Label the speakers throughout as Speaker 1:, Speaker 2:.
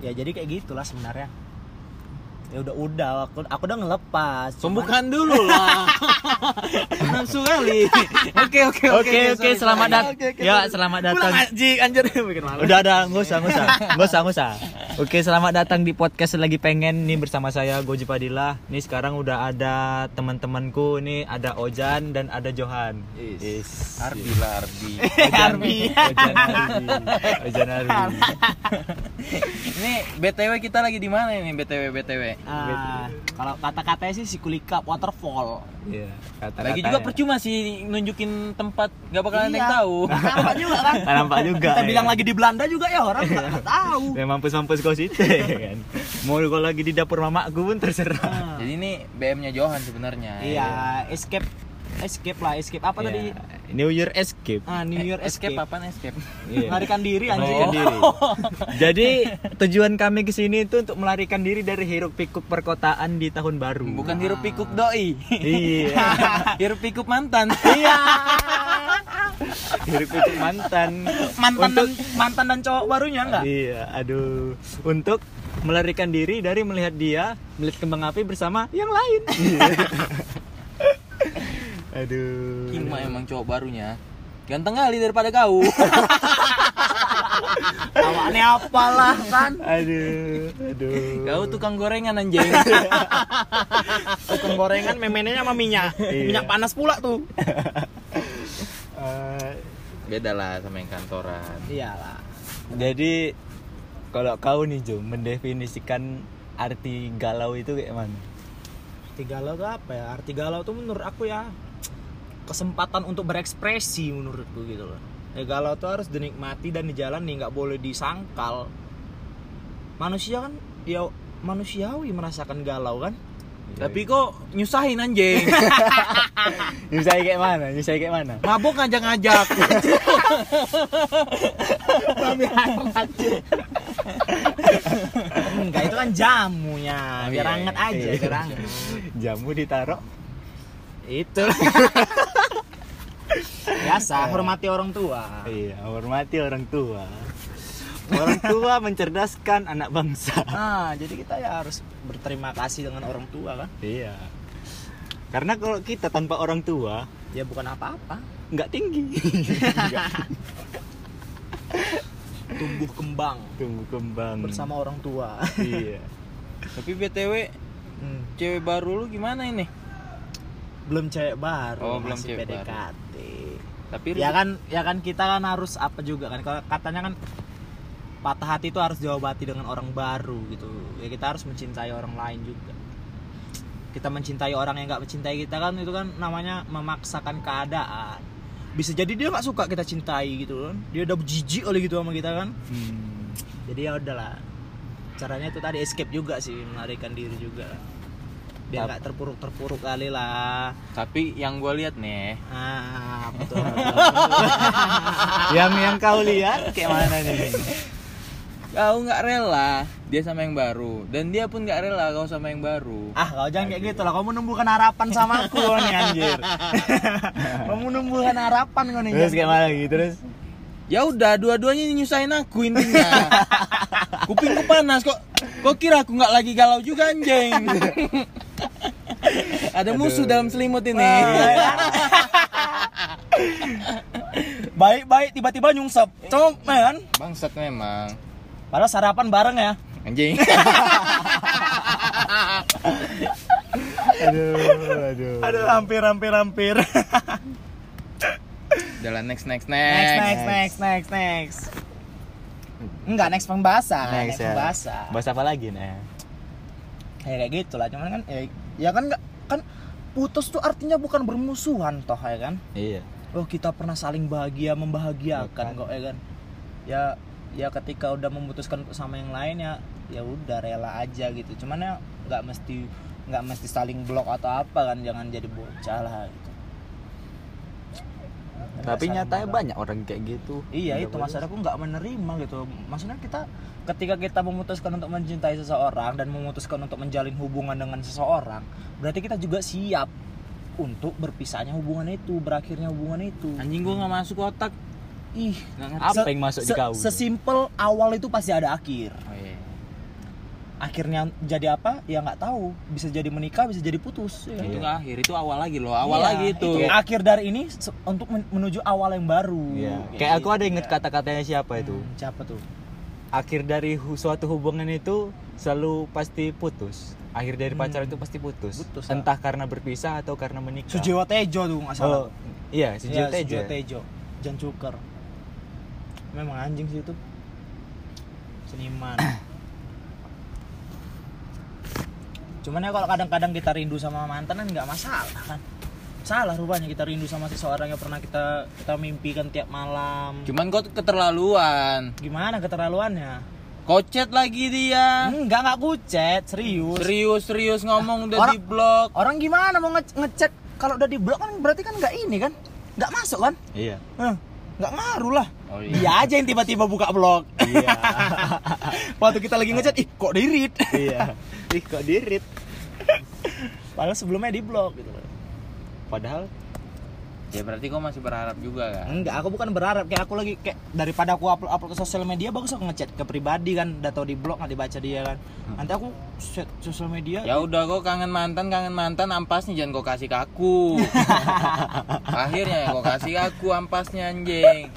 Speaker 1: ya jadi kayak gitulah sebenarnya ya udah udah aku aku udah ngelepas
Speaker 2: Oh,
Speaker 1: cuman-
Speaker 3: Pembukaan dulu lah. Nafsu kali. Oke oke
Speaker 1: oke oke, selamat datang
Speaker 2: Oke, oke,
Speaker 1: ya
Speaker 2: sorry.
Speaker 1: selamat datang
Speaker 2: Pulang anjing anjir bikin malu.
Speaker 1: udah ada nggak usah nggak usah nggak usah nggak usah oke selamat datang di podcast lagi pengen nih bersama saya Goji Padilla nih sekarang udah ada teman-temanku nih ada Ojan dan ada Johan Is.
Speaker 2: Arbi lah Eh, Arbi. Ah.
Speaker 1: Ojan Ojan Arbi Ojan Arbi
Speaker 3: Ini BTW kita lagi di mana ini BTW BTW?
Speaker 1: Ah,
Speaker 3: kalau kata-katanya sih si Kulikap Waterfall.
Speaker 1: Iya, kata-katanya.
Speaker 3: Lagi juga percuma sih nunjukin tempat gak bakalan ada yang
Speaker 2: Iya.
Speaker 3: tahu.
Speaker 2: Nampak juga kan.
Speaker 1: Nggak nampak juga
Speaker 2: Kita
Speaker 1: ya.
Speaker 2: bilang lagi di Belanda juga ya orang nggak tahu. Iya,
Speaker 1: Ya mampus-mampus kau situ ya kan. Mau kau lagi di dapur mamaku pun terserah.
Speaker 3: Jadi ini BM-nya Johan sebenarnya.
Speaker 2: Iya, escape escape lah, escape apa
Speaker 1: Iya.
Speaker 2: tadi?
Speaker 1: New Year escape.
Speaker 2: Ah, New Year escape.
Speaker 3: escape apaan escape?
Speaker 1: Iya.
Speaker 2: Melarikan diri anjing. Oh.
Speaker 1: Melarikan diri. Jadi tujuan kami ke sini itu untuk melarikan diri dari hiruk pikuk perkotaan di tahun baru.
Speaker 3: Bukan hirup pikuk doi.
Speaker 1: Iya.
Speaker 3: hirup pikuk mantan.
Speaker 1: Iya. hiruk pikuk mantan.
Speaker 2: Mantan dan
Speaker 1: Untuk-
Speaker 2: mantan dan cowok barunya enggak?
Speaker 1: Iya, aduh. Untuk melarikan diri dari melihat dia melihat kembang api bersama yang lain. aduh.
Speaker 3: Kima emang cowok barunya. Ganteng kali daripada kau.
Speaker 2: Awaknya apalah kan.
Speaker 1: Aduh, aduh.
Speaker 3: kau tukang gorengan anjing.
Speaker 2: Tukang gorengan memenenya sama minyak.
Speaker 1: Iya.
Speaker 2: Minyak panas pula tuh.
Speaker 1: Eh,
Speaker 3: Beda lah sama yang kantoran.
Speaker 2: Iyalah.
Speaker 1: jadi kalau kau nih Jo mendefinisikan arti galau itu kayak mana?
Speaker 2: Arti galau tuh apa ya? Arti galau tuh menurut aku ya kesempatan untuk berekspresi menurutku gitu loh. Ya, galau tuh harus dinikmati dan dijalani, nggak boleh disangkal. Manusia kan ya manusiawi merasakan galau kan?
Speaker 1: Iya,
Speaker 3: Tapi kok nyusahin anjing.
Speaker 1: Nyusai kayak mana? Nyusai kayak mana?
Speaker 3: Mabok ngajak-ngajak.
Speaker 2: Enggak itu kan jamunya,
Speaker 3: Oh,
Speaker 2: biar
Speaker 3: iya,
Speaker 2: anget
Speaker 3: iya,
Speaker 2: aja,
Speaker 1: iya.
Speaker 2: biar anget.
Speaker 1: Jamu ditaruh.
Speaker 2: Itu.
Speaker 3: Iya.
Speaker 2: Biasa, hormati orang tua.
Speaker 1: Iya, hormati orang tua. Orang tua mencerdaskan anak bangsa.
Speaker 2: Nah, jadi kita ya harus berterima kasih dengan orang tua kan?
Speaker 1: Iya. Karena kalau kita tanpa orang tua
Speaker 2: Ya bukan apa-apa.
Speaker 1: nggak tinggi.
Speaker 2: Tumbuh kembang
Speaker 1: Tumbuh
Speaker 3: Hmm.
Speaker 1: kembang.
Speaker 2: bersama orang tua.
Speaker 1: Iya.
Speaker 3: Tapi BTW
Speaker 2: Hmm,
Speaker 3: cewek baru lu gimana ini?
Speaker 2: Belum cewek baru,
Speaker 3: Oh, belum
Speaker 2: masih
Speaker 3: cewek baru.
Speaker 2: PDKT.
Speaker 3: Tapi
Speaker 2: Ya kan, ya kan kita kan harus apa juga kan? Kalau katanya kan patah hati itu harus diobati dengan orang baru gitu. Ya kita harus mencintai orang lain juga. Kita mencintai orang yang nggak mencintai kita kan itu kan namanya memaksakan keadaan. Bisa jadi dia nggak suka kita cintai gitu kan. Dia udah jijik oleh gitu sama kita kan.
Speaker 1: Hmm.
Speaker 2: jadi ya udahlah caranya itu tadi escape juga sih melarikan diri juga biar nggak terpuruk terpuruk kali lah
Speaker 3: tapi yang gua lihat nih
Speaker 2: ah betul
Speaker 1: yang yang kau lihat kayak mana nih?
Speaker 3: kau nggak rela dia sama yang baru dan dia pun nggak rela kau sama yang baru
Speaker 2: ah kau jangan kayak gitu lah kau menumbuhkan harapan sama aku kau nih anjir kau menumbuhkan harapan kau nih kan?
Speaker 1: Terus
Speaker 2: Jan.
Speaker 1: kayak mana gitu terus?
Speaker 3: ya udah dua-duanya nyusahin aku intinya kupingku panas kok kok kira aku nggak lagi galau juga anjing ada musuh dalam selimut ini
Speaker 2: baik-baik tiba-tiba nyungsep cong kan
Speaker 3: bangsat memang
Speaker 2: padahal sarapan bareng ya
Speaker 3: anjing
Speaker 1: Aduh, aduh.
Speaker 2: aduh hampir hampir hampir
Speaker 3: jalan next
Speaker 2: next
Speaker 3: next next
Speaker 2: next next next next enggak next pembahasan next,
Speaker 1: Next ya.
Speaker 2: pembahasan
Speaker 1: Bahas apa lagi nih?
Speaker 2: kayak kayak gitu lah cuman kan ya, ya kan nggak kan putus tuh artinya bukan bermusuhan toh ya kan
Speaker 1: Iya.
Speaker 2: oh kita pernah saling bahagia membahagiakan
Speaker 1: Bukan.
Speaker 2: kok ya kan ya ya ketika udah memutuskan untuk sama yang lain ya ya udah rela aja gitu cuman ya nggak mesti nggak mesti saling blok atau apa kan jangan jadi bocah lah gitu Saling
Speaker 1: Tapi nyatanya
Speaker 2: blok.
Speaker 1: banyak orang kayak gitu.
Speaker 2: Iya
Speaker 1: Nggak
Speaker 2: itu
Speaker 1: boleh.
Speaker 2: maksud aku nggak menerima gitu. Maksudnya kita ketika kita memutuskan untuk mencintai seseorang dan memutuskan untuk menjalin hubungan dengan seseorang, berarti kita juga siap untuk berpisahnya hubungan itu, berakhirnya hubungan itu.
Speaker 3: anjing gua nggak masuk otak
Speaker 2: Ih,
Speaker 3: nggak ngerti
Speaker 1: Apa yang masuk di kau?
Speaker 2: sesimpel awal itu pasti ada akhir.
Speaker 3: oh, iya.
Speaker 2: akhirnya jadi apa ya nggak tahu bisa jadi menikah bisa jadi putus ya.
Speaker 3: itu
Speaker 1: Iya.
Speaker 3: nggak akhir itu awal lagi loh awal
Speaker 2: Iya,
Speaker 3: lagi itu,
Speaker 2: akhir dari ini se- untuk men- menuju awal yang baru
Speaker 1: Iya.
Speaker 2: Kayak
Speaker 1: Kayak aku
Speaker 2: gitu,
Speaker 1: ada inget
Speaker 2: ya.
Speaker 1: kata-katanya siapa itu.
Speaker 2: Hmm, siapa tuh
Speaker 1: Akhir dari hu- suatu hubungan itu selalu pasti putus. Akhir dari pacaran itu pasti Hmm. putus.
Speaker 2: Putus, ah.
Speaker 1: Entah karena berpisah atau karena menikah.
Speaker 2: Sujiwo Tejo tuh nggak salah
Speaker 1: Oh, iya,
Speaker 2: Iya,
Speaker 1: Sujiwo Tejo.
Speaker 2: Sujiwo Tejo Jan Cuker memang anjing sih itu seniman cuman ya kalau kadang-kadang kita rindu sama mantan kan nggak masalah kan salah rupanya kita rindu sama seseorang yang pernah kita kita mimpikan tiap malam
Speaker 3: cuman kok keterlaluan
Speaker 2: gimana keterlaluannya
Speaker 3: kocet lagi dia
Speaker 2: enggak nggak kucet serius
Speaker 3: serius serius ngomong udah
Speaker 2: Orang-
Speaker 3: di blok
Speaker 2: orang gimana mau nge- ngechat kalau udah di blok kan berarti kan nggak ini kan nggak masuk kan
Speaker 1: Iya.
Speaker 2: Eh, nggak ngaruh lah
Speaker 3: oh,
Speaker 2: dia aja yang tiba-tiba buka blog
Speaker 1: Iya.
Speaker 2: waktu kita lagi ngechat ih kok di read
Speaker 1: iya. Ih, kok dirit.
Speaker 2: padahal sebelumnya di blog gitu
Speaker 1: Padahal
Speaker 3: ya berarti kau masih berharap juga kan
Speaker 2: enggak aku bukan berharap kayak aku lagi kayak daripada aku upload upload ke sosial media bagus aku ngechat ke pribadi kan udah tau di blog nggak dibaca dia kan
Speaker 1: Hmm.
Speaker 2: nanti aku set sosial media
Speaker 3: ya udah kok kangen mantan kangen mantan ampasnya jangan kau kasih ke aku akhirnya kau kasih ke aku ampasnya anjing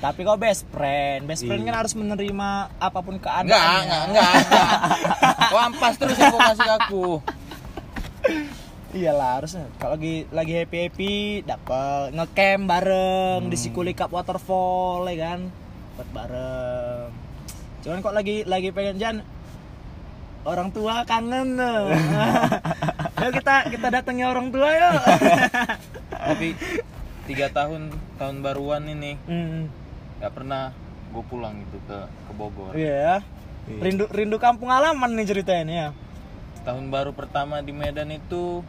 Speaker 2: tapi kau best friend best friend
Speaker 1: Iya.
Speaker 2: kan harus menerima apapun keadaan ya.
Speaker 3: enggak enggak enggak, enggak. kau ampas terus yang kau kasih ke aku
Speaker 2: iyalah harusnya kalau lagi lagi happy happy dapet ngecamp bareng di
Speaker 3: Hmm.
Speaker 2: Sikuli Cup waterfall ya kan buat bareng cuman kok lagi lagi pengen jan orang tua kangen loh. Ayo kita kita datangi orang tua yuk
Speaker 3: tapi tiga tahun tahun baruan ini
Speaker 2: Hmm,
Speaker 3: nggak pernah gue pulang gitu ke ke Bogor
Speaker 2: iya rindu rindu kampung halaman nih ceritanya nih ya
Speaker 3: tahun baru pertama di Medan itu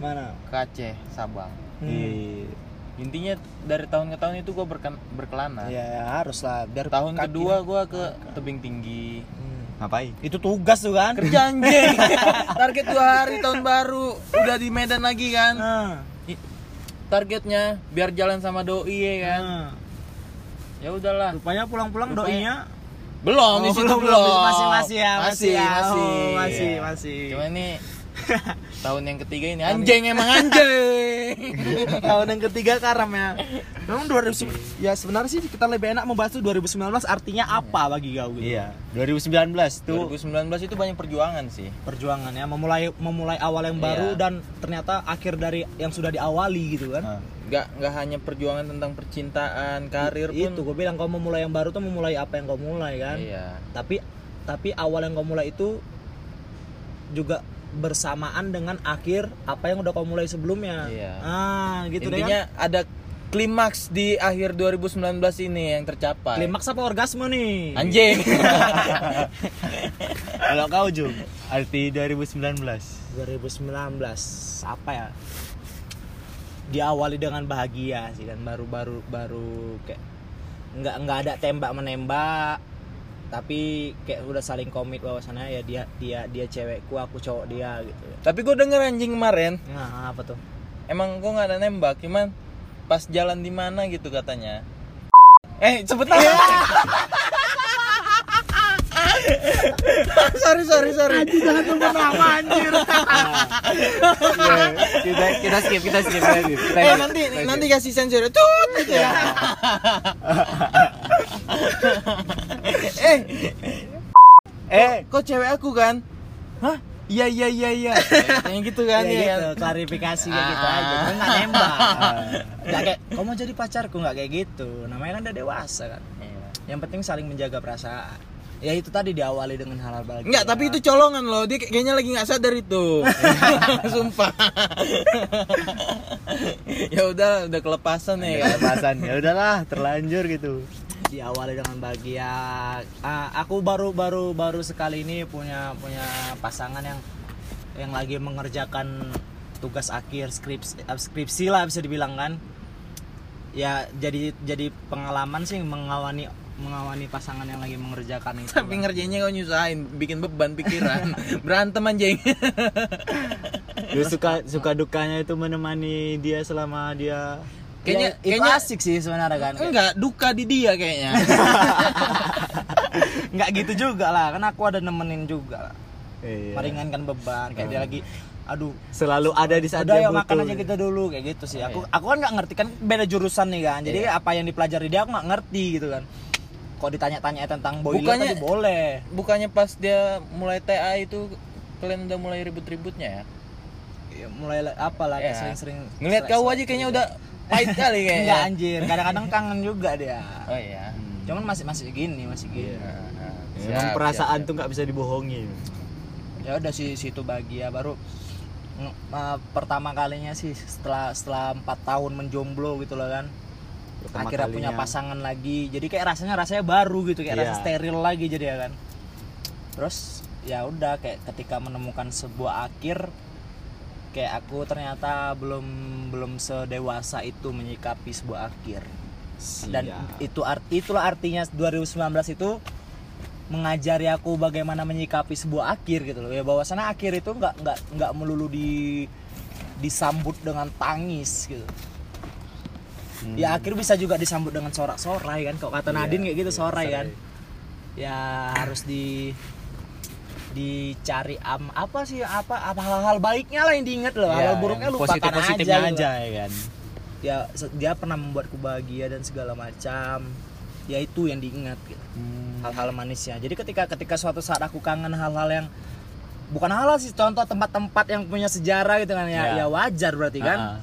Speaker 2: mana
Speaker 3: ke Aceh Sabang
Speaker 2: Hmm.
Speaker 3: intinya dari tahun ke tahun itu gue berkelana
Speaker 2: ya harus lah biar
Speaker 3: Ah. tahun
Speaker 2: kaki-
Speaker 3: kedua gue ke tebing tinggi
Speaker 2: Hmm.
Speaker 1: ngapain?
Speaker 2: itu tugas tuh kan
Speaker 3: kerja anjing target dua hari tahun baru udah di Medan lagi kan
Speaker 2: Nah,
Speaker 3: targetnya biar jalan sama doi ya kan
Speaker 2: nah.
Speaker 3: ya udahlah
Speaker 2: rupanya pulang-pulang
Speaker 3: Rupanya-
Speaker 2: doinya
Speaker 3: belum di
Speaker 2: Oh,
Speaker 3: situ
Speaker 2: belum,
Speaker 3: belum,
Speaker 2: belum. Masih, masih ya, masih
Speaker 3: masih
Speaker 2: ya.
Speaker 3: masih,
Speaker 2: Oh, masih,
Speaker 3: Ya.
Speaker 2: masih.
Speaker 3: cuma ini tahun yang ketiga ini anjing emang anjing
Speaker 2: tahun yang ketiga karam ya. Memang 2000 ya sebenarnya sih kita lebih enak membahas tuh 2019 artinya apa bagi kau gitu.
Speaker 1: Iya. 2019 tuh
Speaker 3: 2019 itu banyak perjuangan sih
Speaker 2: Perjuangan ya memulai memulai awal yang baru
Speaker 3: Iya. Nah.
Speaker 2: dan ternyata akhir dari yang sudah diawali gitu kan.
Speaker 1: Ah,
Speaker 3: nggak nggak hanya perjuangan tentang percintaan karir pun
Speaker 2: Itu gue bilang kau memulai yang baru tuh memulai apa yang kau mulai kan.
Speaker 3: iya
Speaker 2: Tapi tapi awal yang kau mulai itu juga bersamaan dengan akhir apa yang udah kau mulai sebelumnya.
Speaker 3: Iya.
Speaker 2: Ah, gitu deh kan.
Speaker 3: intinya ada klimaks di akhir 2019 ini yang tercapai
Speaker 2: Klimaks apa orgasme nih?
Speaker 3: anjing
Speaker 1: Kalau kau Jum, arti 2019.
Speaker 2: 2019 apa ya diawali dengan bahagia sih dan baru-baru baru kayak nggak nggak ada tembak menembak tapi kayak udah saling komit bahwasannya ya dia dia dia cewekku aku cowok dia gitu ya
Speaker 3: tapi gue denger anjing kemarin
Speaker 2: nah apa tuh
Speaker 3: emang gue nggak ada nembak cuman pas jalan di mana gitu katanya eh sebut nama sorry sorry sorry
Speaker 1: kita kita skip, kita skip, kita skip. Kita
Speaker 3: eh
Speaker 1: skip.
Speaker 3: nanti nanti kasih sensor tut gitu ya eh
Speaker 1: Eh,
Speaker 3: kok cewek aku kan hah iya iya iya iya yang gitu kan
Speaker 2: ya,
Speaker 3: ya,
Speaker 2: gitu,
Speaker 3: kan?
Speaker 2: klarifikasi kayak gitu
Speaker 3: Ah.
Speaker 2: aja Gue nggak nembak nggak kayak kamu mau jadi pacarku nggak kayak gitu namanya kan udah dewasa kan
Speaker 3: Iya.
Speaker 2: yang penting saling menjaga perasaan ya itu tadi diawali dengan hal-hal bahagia
Speaker 3: Enggak, tapi itu colongan loh. Dia kayaknya lagi nggak sadar itu. Sumpah. ya udah, udah kelepasan ya kan.
Speaker 1: Kelepasan. Ya udahlah, terlanjur gitu.
Speaker 2: diawali dengan bahagia. Ah, aku baru baru baru sekali ini punya punya pasangan yang yang lagi mengerjakan tugas akhir skripsi eh, skripsi lah bisa dibilang kan. Ya jadi jadi pengalaman sih mengawani mengawani pasangan yang lagi mengerjakan itu.
Speaker 3: Tapi ngerjainnya kau nyusahin, bikin beban pikiran. Berantem anjing.
Speaker 1: Lu suka suka dukanya itu menemani dia selama dia
Speaker 3: Kayaknya
Speaker 2: Ya, itu
Speaker 3: kayaknya
Speaker 2: asik sih sebenarnya kan.
Speaker 3: enggak duka di dia kayaknya.
Speaker 2: nggak gitu juga lah karena aku ada nemenin juga lah
Speaker 1: Iya.
Speaker 2: meringankan beban kayak
Speaker 3: Hmm.
Speaker 2: dia lagi aduh
Speaker 1: Selalu ada di saat
Speaker 2: udah
Speaker 1: dia
Speaker 2: ya
Speaker 1: butuh.
Speaker 2: makan aja kita dulu kayak gitu sih aku aku kan nggak ngerti kan beda jurusan nih kan jadi apa yang dipelajari dia aku nggak ngerti gitu kan kok ditanya-tanya tentang boiler
Speaker 3: Bukannya-
Speaker 2: tadi boleh
Speaker 3: bukannya pas dia mulai TA itu kalian udah mulai ribut-ributnya ya
Speaker 2: ya, mulai la- apa lah kayak
Speaker 3: Ya.
Speaker 2: sering-sering
Speaker 3: ngelihat kau aja kayaknya udah pahit kali
Speaker 2: enggak
Speaker 3: kayaknya
Speaker 2: anjir kadang-kadang kangen juga dia
Speaker 3: oh iya
Speaker 2: cuman masih masih gini masih gini
Speaker 1: Emang perasaan tuh nggak bisa dibohongi.
Speaker 2: ya udah sih situ bahagia baru mm, eh, pertama kalinya sih setelah setelah empat tahun menjomblo gitu loh kan
Speaker 1: Pertama
Speaker 2: akhirnya punya
Speaker 1: kalinya.
Speaker 2: pasangan lagi jadi kayak rasanya rasanya baru gitu kayak rasa
Speaker 1: Iya.
Speaker 2: steril lagi jadi ya kan terus ya udah kayak ketika menemukan sebuah akhir kayak aku ternyata belum belum sedewasa itu menyikapi sebuah akhir dan
Speaker 1: Siap.
Speaker 2: itu art itulah artinya 2019 itu mengajari aku bagaimana menyikapi sebuah akhir gitu loh ya bahwasanya akhir itu nggak nggak nggak melulu di disambut dengan tangis gitu
Speaker 1: Hmm.
Speaker 2: ya akhir bisa juga disambut dengan sorak-sorai kan kalau
Speaker 1: Iya,
Speaker 2: kata Nadine kayak gitu sorai kan ya harus di dicari am apa sih apa apa hal-hal baiknya lah yang diinget loh
Speaker 1: Ya,
Speaker 2: hal-hal buruknya
Speaker 1: yang
Speaker 2: lupakan
Speaker 1: positif-positifnya
Speaker 2: aja,
Speaker 1: aja,
Speaker 2: gitu.
Speaker 1: ya kan.
Speaker 2: ya se- dia pernah membuatku bahagia dan segala macam ya itu yang diingat gitu.
Speaker 1: Hmm.
Speaker 2: hal-hal manisnya jadi ketika ketika suatu saat aku kangen hal-hal yang bukan hal-hal sih contoh tempat-tempat yang punya sejarah gitu kan ya
Speaker 1: Ya.
Speaker 2: ya wajar berarti kan
Speaker 1: Ah, ah.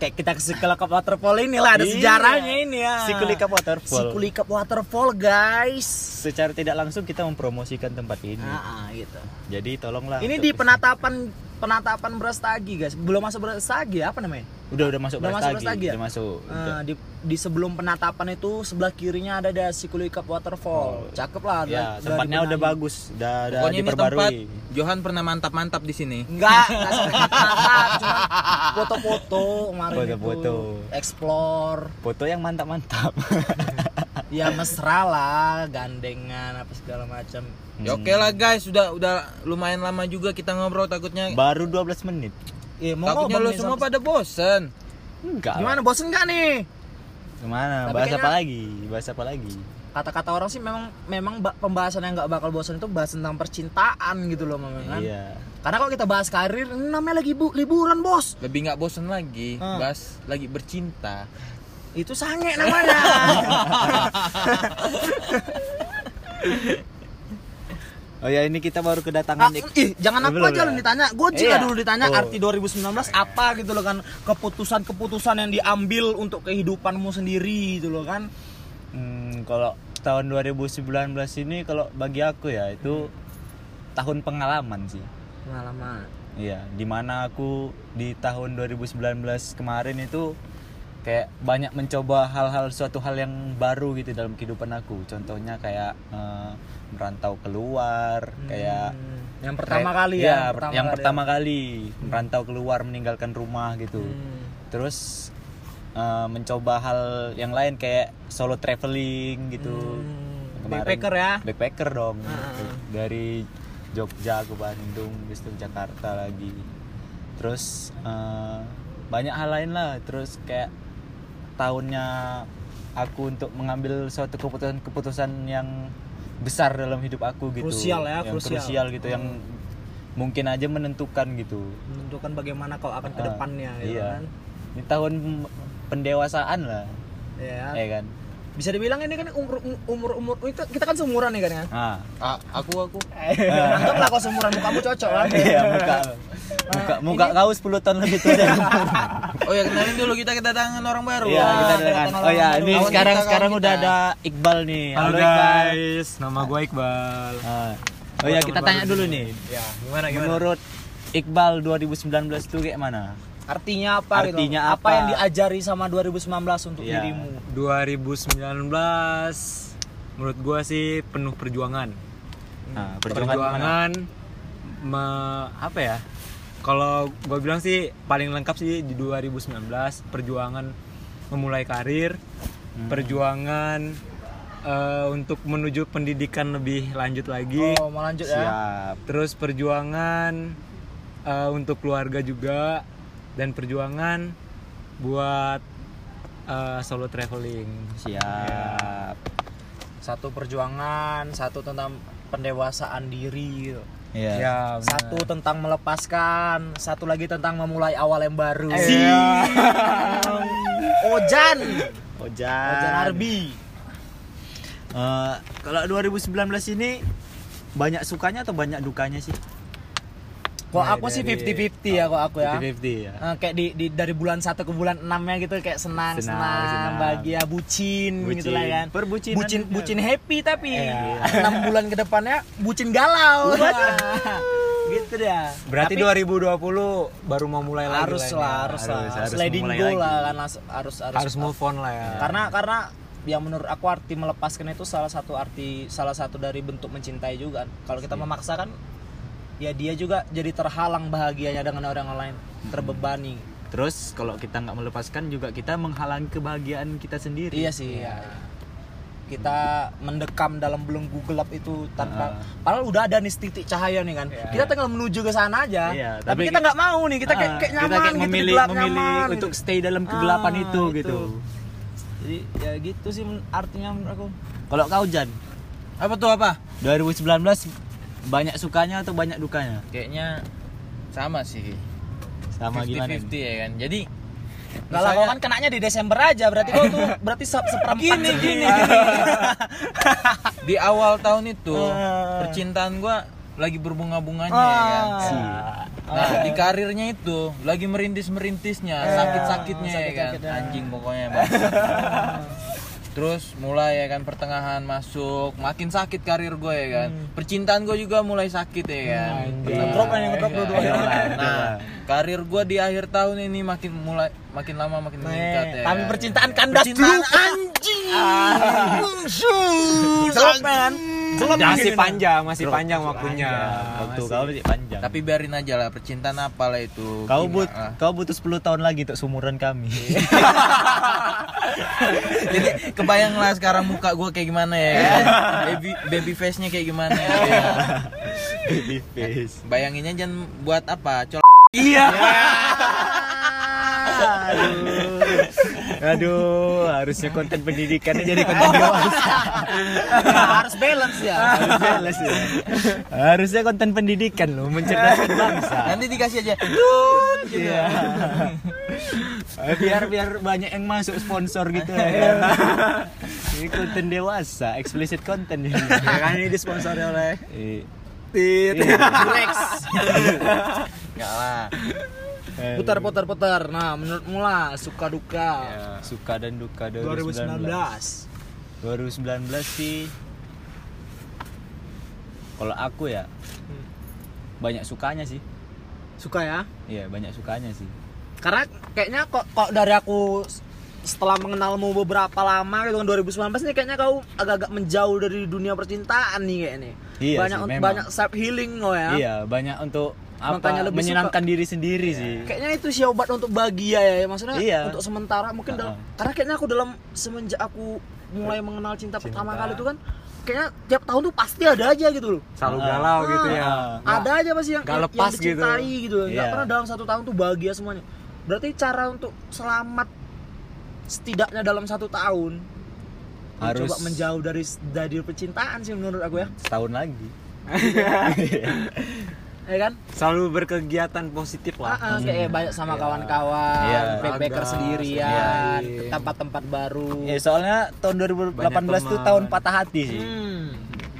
Speaker 2: kayak kita ke Sikulika Waterfall ini lah ada
Speaker 1: Iya.
Speaker 2: sejarahnya ini ya
Speaker 1: Sikulika Waterfall.
Speaker 2: Sikulika Waterfall guys
Speaker 1: Secara tidak langsung kita mempromosikan tempat ini.
Speaker 2: Ah, ah, gitu
Speaker 1: Jadi tolonglah.
Speaker 2: ini
Speaker 1: untuk
Speaker 2: di
Speaker 1: Hmm. Ah, bisa-
Speaker 2: penatapan penatapan Brastagi guys belum masuk Brastagi apa namanya
Speaker 1: Udah udah masuk
Speaker 2: Udah
Speaker 1: beras
Speaker 2: masuk
Speaker 1: lagi.
Speaker 2: beras lagi ya?
Speaker 1: Udah masuk. udah.
Speaker 2: Eh, di, di sebelum penatapan itu sebelah kirinya ada ada Sikulika Waterfall
Speaker 1: Oh.
Speaker 2: cakep lah
Speaker 1: ya, tempatnya udah
Speaker 2: dibenahi.
Speaker 1: bagus, udah udah
Speaker 3: pokoknya ini tempat
Speaker 1: diperbarui.
Speaker 3: Johan pernah mantap-mantap di sini
Speaker 2: Enggak, enggak sampai penatap, cuma foto-foto kemarin
Speaker 1: Foto-foto.
Speaker 2: itu. Explore.
Speaker 1: Foto yang mantap-mantap.
Speaker 2: Ya mesra lah, gandengan apa segala macam.
Speaker 3: ya
Speaker 2: Hmm.
Speaker 1: Hmm.
Speaker 3: oke lah guys sudah udah lumayan lama juga kita ngobrol takutnya
Speaker 1: Baru 12 menit.
Speaker 2: Iya, mau
Speaker 3: takutnya
Speaker 2: ngomong
Speaker 3: lo
Speaker 2: nih
Speaker 3: semua
Speaker 2: sama-
Speaker 3: pada bosen
Speaker 1: Enggak. lah.
Speaker 2: Gimana bosen gak nih?
Speaker 1: Gimana?
Speaker 2: Tapi
Speaker 1: Bahas
Speaker 2: kayaknya-
Speaker 1: apa lagi? Bahas apa lagi?
Speaker 2: Kata-kata orang sih memang memang ba- pembahasan yang nggak bakal bosen itu bahas tentang percintaan gitu loh memang kan.
Speaker 1: Iya.
Speaker 2: Karena kalau kita bahas karir namanya lagi bu- liburan, Bos.
Speaker 3: lebih nggak bosen lagi
Speaker 2: Ah.
Speaker 3: bahas lagi bercinta
Speaker 2: Itu sange namanya.
Speaker 1: Oh ya, ini kita baru
Speaker 2: Ah,
Speaker 1: kedatangan ik-
Speaker 2: ih, jangan aku
Speaker 1: Belum
Speaker 2: aja
Speaker 1: ya?
Speaker 2: lu ditanya. Gue juga
Speaker 1: Iya.
Speaker 2: dulu ditanya
Speaker 1: Oh.
Speaker 2: arti 2019 apa gitu loh kan. Keputusan-keputusan yang diambil untuk kehidupanmu sendiri gitu loh kan.
Speaker 1: Hmm, kalau tahun 2019 ini kalau bagi aku ya itu tahun pengalaman sih.
Speaker 2: Pengalaman.
Speaker 1: Iya, dimana aku di tahun 2019 kemarin itu kayak banyak mencoba hal-hal suatu hal yang baru gitu dalam kehidupan aku. Contohnya kayak eh, merantau keluar, kayak
Speaker 2: yang Hmm, pertama kali
Speaker 1: Iya,
Speaker 2: ya.
Speaker 1: per- yang pertama kali merantau keluar meninggalkan rumah gitu.
Speaker 2: Hmm.
Speaker 1: Terus eh, mencoba hal yang lain kayak solo traveling gitu. Kemarin-
Speaker 2: Backpacker ah, ya.
Speaker 1: Backpacker dong. Dari Jogja ke Bandung, terus ke Jakarta lagi. Terus eh, banyak hal lain lah. Terus kayak tahunnya aku untuk mengambil suatu keputusan-keputusan yang besar dalam hidup aku gitu.
Speaker 2: Krusial ya,
Speaker 1: yang
Speaker 2: krusial. Hmm.
Speaker 1: gitu, yang mungkin aja menentukan gitu.
Speaker 2: Menentukan bagaimana kau akan ke depannya gitu
Speaker 1: iya.
Speaker 2: kan.
Speaker 1: Ini tahun pendewasaan lah,
Speaker 2: Ya.
Speaker 1: ya kan.
Speaker 2: Bisa dibilang ini kan umur umur umur itu kita kan seumuran nih kan ya.
Speaker 1: Ah.
Speaker 3: Ah, aku aku
Speaker 2: Anggaplah kau seumuran mukamu cocok kan.
Speaker 1: Eh. Iya muka muka muka kau 10 tahun lebih tua dari aku.
Speaker 3: oh ya kenalin dulu kita kedatangan orang baru
Speaker 1: Iya,
Speaker 3: Wah.
Speaker 1: kita dengan. Oh ya, ini
Speaker 3: Kawan
Speaker 1: sekarang
Speaker 3: kita, kawan
Speaker 1: sekarang
Speaker 3: kita.
Speaker 1: udah ada Iqbal nih.
Speaker 4: Ya, Halo
Speaker 1: Iqbal.
Speaker 4: guys, nama gue Iqbal.
Speaker 1: Ah. Oh ya, kita tanya dulu nih.
Speaker 4: Ya, gimana
Speaker 1: Menurut Iqbal 2019 tuh kayak mana?
Speaker 2: Artinya apa gitu?
Speaker 1: Artinya
Speaker 2: apa?
Speaker 1: apa?
Speaker 2: yang diajari sama 2019 untuk
Speaker 1: Iya.
Speaker 2: dirimu?
Speaker 4: 2019 menurut gue sih penuh perjuangan.
Speaker 1: Nah, perjuangan mana?
Speaker 4: Perjuangan me- apa ya? Kalau gue bilang sih paling lengkap sih di 2019 perjuangan memulai karir, Hmm. perjuangan eh, untuk menuju pendidikan lebih lanjut lagi.
Speaker 2: Oh, mau lanjut ya.
Speaker 1: Iya. Siap.
Speaker 4: terus perjuangan eh, untuk keluarga juga dan perjuangan buat eh, solo traveling
Speaker 1: Siap.
Speaker 2: satu perjuangan satu tentang pendewasaan diri gitu.
Speaker 1: Iya.
Speaker 4: Ya, benar.
Speaker 2: satu tentang melepaskan satu lagi tentang memulai awal yang baru Ojan
Speaker 1: Ojan.
Speaker 2: Ojan Arbi
Speaker 1: Eh, kalau 2019 ini banyak sukanya atau banyak dukanya sih?
Speaker 2: kok
Speaker 1: Nah,
Speaker 4: Nah,
Speaker 2: aku sih 50-50 ya kok aku ya
Speaker 4: 50-50 ya.
Speaker 2: Eh, kayak di, di- dari bulan 1 ke bulan 6 ya gitu kayak senang
Speaker 4: Senang,
Speaker 2: senang,
Speaker 4: senang.
Speaker 2: bahagia bucin,
Speaker 1: Bucin.
Speaker 2: gitu lah kan
Speaker 1: Perbucinan
Speaker 2: bucin
Speaker 1: juga.
Speaker 2: bucin happy tapi
Speaker 4: Iya.
Speaker 2: 6 bulan ke depannya bucin galau gitu dah
Speaker 4: Berarti
Speaker 2: Tapi
Speaker 4: 2020 baru mau mulai lagi
Speaker 2: harus
Speaker 4: lah ini
Speaker 2: lah
Speaker 4: ya.
Speaker 2: harus lah harus
Speaker 4: memulai
Speaker 2: sliding goal
Speaker 4: lagi.
Speaker 2: lah kan harus harus
Speaker 4: Harus move on lah ya.
Speaker 2: karena karena yang menurut aku arti melepaskan itu salah satu arti salah satu dari bentuk mencintai juga kan. kalau kita memaksakan ya dia juga jadi terhalang bahagianya dengan orang lain terbebani
Speaker 1: Hmm. Terus kalau kita nggak melepaskan juga kita menghalangi kebahagiaan kita sendiri.
Speaker 2: iya sih ya. kita mendekam dalam belenggu gelap itu tanpa padahal udah ada nih titik cahaya nih kan kita tinggal menuju ke sana aja
Speaker 1: Iya,
Speaker 2: tapi,
Speaker 1: tapi
Speaker 2: kita nggak mau nih kita kayak,
Speaker 1: Ah,
Speaker 2: kayak nyaman
Speaker 1: kita kayak
Speaker 2: gitu, di
Speaker 1: memilih
Speaker 2: gelap
Speaker 1: memilih
Speaker 2: nyaman gitu.
Speaker 1: untuk stay dalam kegelapan
Speaker 2: Ah,
Speaker 1: itu, gitu.
Speaker 2: jadi ya gitu sih men- artinya menurut aku
Speaker 1: Kalau kau Jan,
Speaker 3: Apa tuh apa?
Speaker 1: 2019 banyak sukanya atau banyak dukanya?
Speaker 3: Kayaknya sama sih.
Speaker 1: Sama gimana?
Speaker 3: 50-50 ya kan. Jadi
Speaker 2: Gak lah, kau kan kenanya di Desember aja, berarti kau tuh berarti se seperempat Ah. gini, gini,
Speaker 3: kan di awal tahun itu Ah. percintaan gua lagi berbunga-bunganya ya kan.
Speaker 1: Ah.
Speaker 2: Iya.
Speaker 3: Nah,
Speaker 2: Ah.
Speaker 3: di karirnya itu lagi merintis-merintisnya, sakit-sakitnya ya kan.
Speaker 2: Iya, sakit-sakitnya.
Speaker 3: Anjing pokoknya, Bang. Terus mulai ya kan pertengahan masuk, makin sakit karir gue ya kan.
Speaker 2: Hmm.
Speaker 3: Percintaan gue juga mulai sakit ya kan.
Speaker 2: Ngedrop kan, ngedrop dua-duanya.
Speaker 3: Nah, karir gue di akhir tahun ini makin mulai makin lama makin meningkat ya.
Speaker 2: Tapi
Speaker 3: kan.
Speaker 2: percintaan kandas
Speaker 3: Percintaan
Speaker 2: dulu Ah. anjing. Jelek kan?
Speaker 4: masih panjang, masih panjang waktunya.
Speaker 1: Waktu kau masih panjang.
Speaker 3: Tapi biarin aja lah percintaan apalah itu. ah.
Speaker 1: kau
Speaker 3: Gimana
Speaker 1: but
Speaker 3: lah.
Speaker 1: kau butuh 10 tahun lagi untuk sumuran kami.
Speaker 3: Jadi kebayang lah sekarang muka gue kayak gimana ya. kan? baby baby face-nya kayak gimana ya.
Speaker 1: Baby face.
Speaker 3: Bayanginnya jangan buat apa? Col
Speaker 4: Iya.
Speaker 1: Aduh, harusnya konten pendidikannya jadi konten dewasa.
Speaker 2: Ya, harus balance ya.
Speaker 1: Jelas ya. Harusnya konten pendidikan loh, mencerdaskan bangsa.
Speaker 3: Nanti dikasih aja. Tut gitu.
Speaker 1: Iya. Eh, biar biar banyak yang masuk sponsor gitu ya. Ini konten dewasa, explicit konten ini.
Speaker 4: Ya kan ini disponsori oleh
Speaker 1: Eh,
Speaker 2: Rex.
Speaker 3: Enggak lah.
Speaker 1: eh,
Speaker 2: Putar putar putar. Nah, menurut mula suka duka.
Speaker 1: suka dan duka
Speaker 2: 2019.
Speaker 1: 2019. 2019 sih kalau aku ya banyak sukanya sih.
Speaker 2: Suka ya?
Speaker 1: Iya, banyak sukanya sih.
Speaker 2: Karena kayaknya kok kok dari aku s- setelah mengenalmu beberapa lama gitu kan 2019 nih kayaknya kau agak-agak menjauh dari dunia percintaan nih kayaknya.
Speaker 1: Iya
Speaker 2: banyak
Speaker 1: sih, memang.
Speaker 2: banyak self healing kok ya.
Speaker 1: Iya, banyak untuk
Speaker 2: Makanya
Speaker 1: apa
Speaker 2: lebih
Speaker 1: menyenangkan diri sendiri sih.
Speaker 2: Kayaknya itu sih obat untuk bahagia ya, maksudnya
Speaker 1: Iya.
Speaker 2: untuk sementara mungkin dalam karena kayaknya aku dalam semenjak aku mulai mengenal cinta, pertama kali itu kan kayaknya tiap tahun tuh pasti ada aja gitu loh.
Speaker 4: selalu
Speaker 1: Ah.
Speaker 4: galau gitu ya.
Speaker 2: Ah, Nah, ada aja pasti yang
Speaker 4: nggak
Speaker 2: yang-
Speaker 4: lepas
Speaker 2: yang
Speaker 4: gitu.
Speaker 2: dicintai gitu, nggak
Speaker 1: Iya.
Speaker 2: pernah dalam satu tahun tuh bahagia semuanya. Berarti cara untuk selamat setidaknya dalam satu tahun
Speaker 1: Harus-
Speaker 2: coba menjauh dari dari percintaan sih menurut aku ya,
Speaker 1: Setahun lagi.
Speaker 2: ya kan?
Speaker 4: Selalu berkegiatan positif
Speaker 2: Ah,
Speaker 4: lah.
Speaker 2: ah, kayak banyak sama kawan-kawan,
Speaker 1: Iya.
Speaker 2: backpacker
Speaker 4: Ada,
Speaker 2: sendirian,
Speaker 4: sendiri.
Speaker 2: ke tempat-tempat baru.
Speaker 1: Ya soalnya tahun 2018 tuh
Speaker 4: teman.
Speaker 1: tahun patah hati sih.
Speaker 2: Hmm.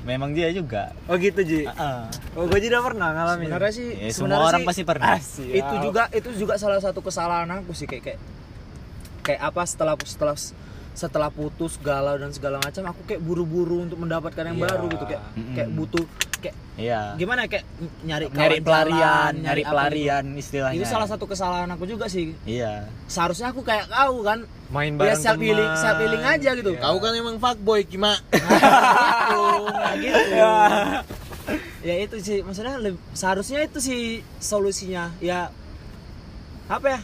Speaker 1: Memang dia juga.
Speaker 4: Oh gitu Ji.
Speaker 1: Heeh.
Speaker 4: Oh gue juga pernah ngalamin.
Speaker 2: Ah. Sebenarnya sih,
Speaker 1: Ya, semua
Speaker 2: sebenarnya
Speaker 1: orang
Speaker 2: sih, Ah,
Speaker 1: pasti pernah.
Speaker 2: itu juga itu juga salah satu kesalahan aku sih kayak kayak kayak apa setelah setelah setelah putus galau dan segala macam aku kayak buru-buru untuk mendapatkan yang baru gitu kayak kayak butuh kayak
Speaker 1: Iya.
Speaker 2: gimana ya, kayak n- nyari
Speaker 1: Nyari
Speaker 2: kawan
Speaker 1: pelarian,
Speaker 2: jalan,
Speaker 1: nyari
Speaker 2: apa
Speaker 1: pelarian nah.
Speaker 2: gitu.
Speaker 1: istilahnya.
Speaker 2: itu salah satu kesalahan aku juga sih
Speaker 1: Iya.
Speaker 2: seharusnya aku kayak kau kan
Speaker 4: Main
Speaker 2: ya
Speaker 4: bareng
Speaker 2: self healing
Speaker 4: teman. Iya.
Speaker 2: self healing aja gitu
Speaker 3: Kau kan emang fuckboy Kima.
Speaker 2: Nah, gitu. ya itu sih maksudnya leb- seharusnya itu sih solusinya ya apa ya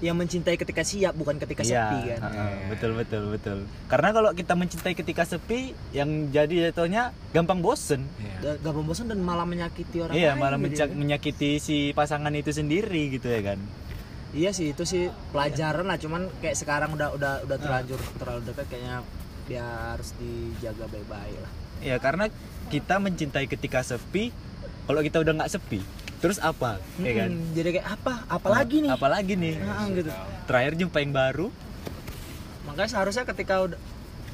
Speaker 2: yang mencintai ketika siap bukan ketika
Speaker 1: Iya,
Speaker 2: sepi kan
Speaker 1: heeh, betul betul betul. Karena kalau kita mencintai ketika sepi, yang jadi jatuhnya gampang bosen.
Speaker 2: Dan gampang bosan dan malah menyakiti orang
Speaker 1: ya.
Speaker 2: lain gitu
Speaker 1: Iya,
Speaker 2: ya.
Speaker 1: malah
Speaker 2: jadi-
Speaker 1: menca- menyakiti si pasangan itu sendiri gitu ya kan.
Speaker 2: iya sih itu sih pelajaran lah cuman kayak sekarang udah udah udah terlanjur terlalu dekat kayaknya ya harus dijaga baik-baik lah
Speaker 1: Ya karena kita mencintai ketika sepi. Kalau kita udah nggak sepi, terus apa? Ya kan?
Speaker 2: Mm, jadi kayak apa apalagi nih
Speaker 1: Apalagi nih?
Speaker 2: Nah, gitu
Speaker 1: Terakhir jumpa yang baru,
Speaker 2: makanya seharusnya ketika udah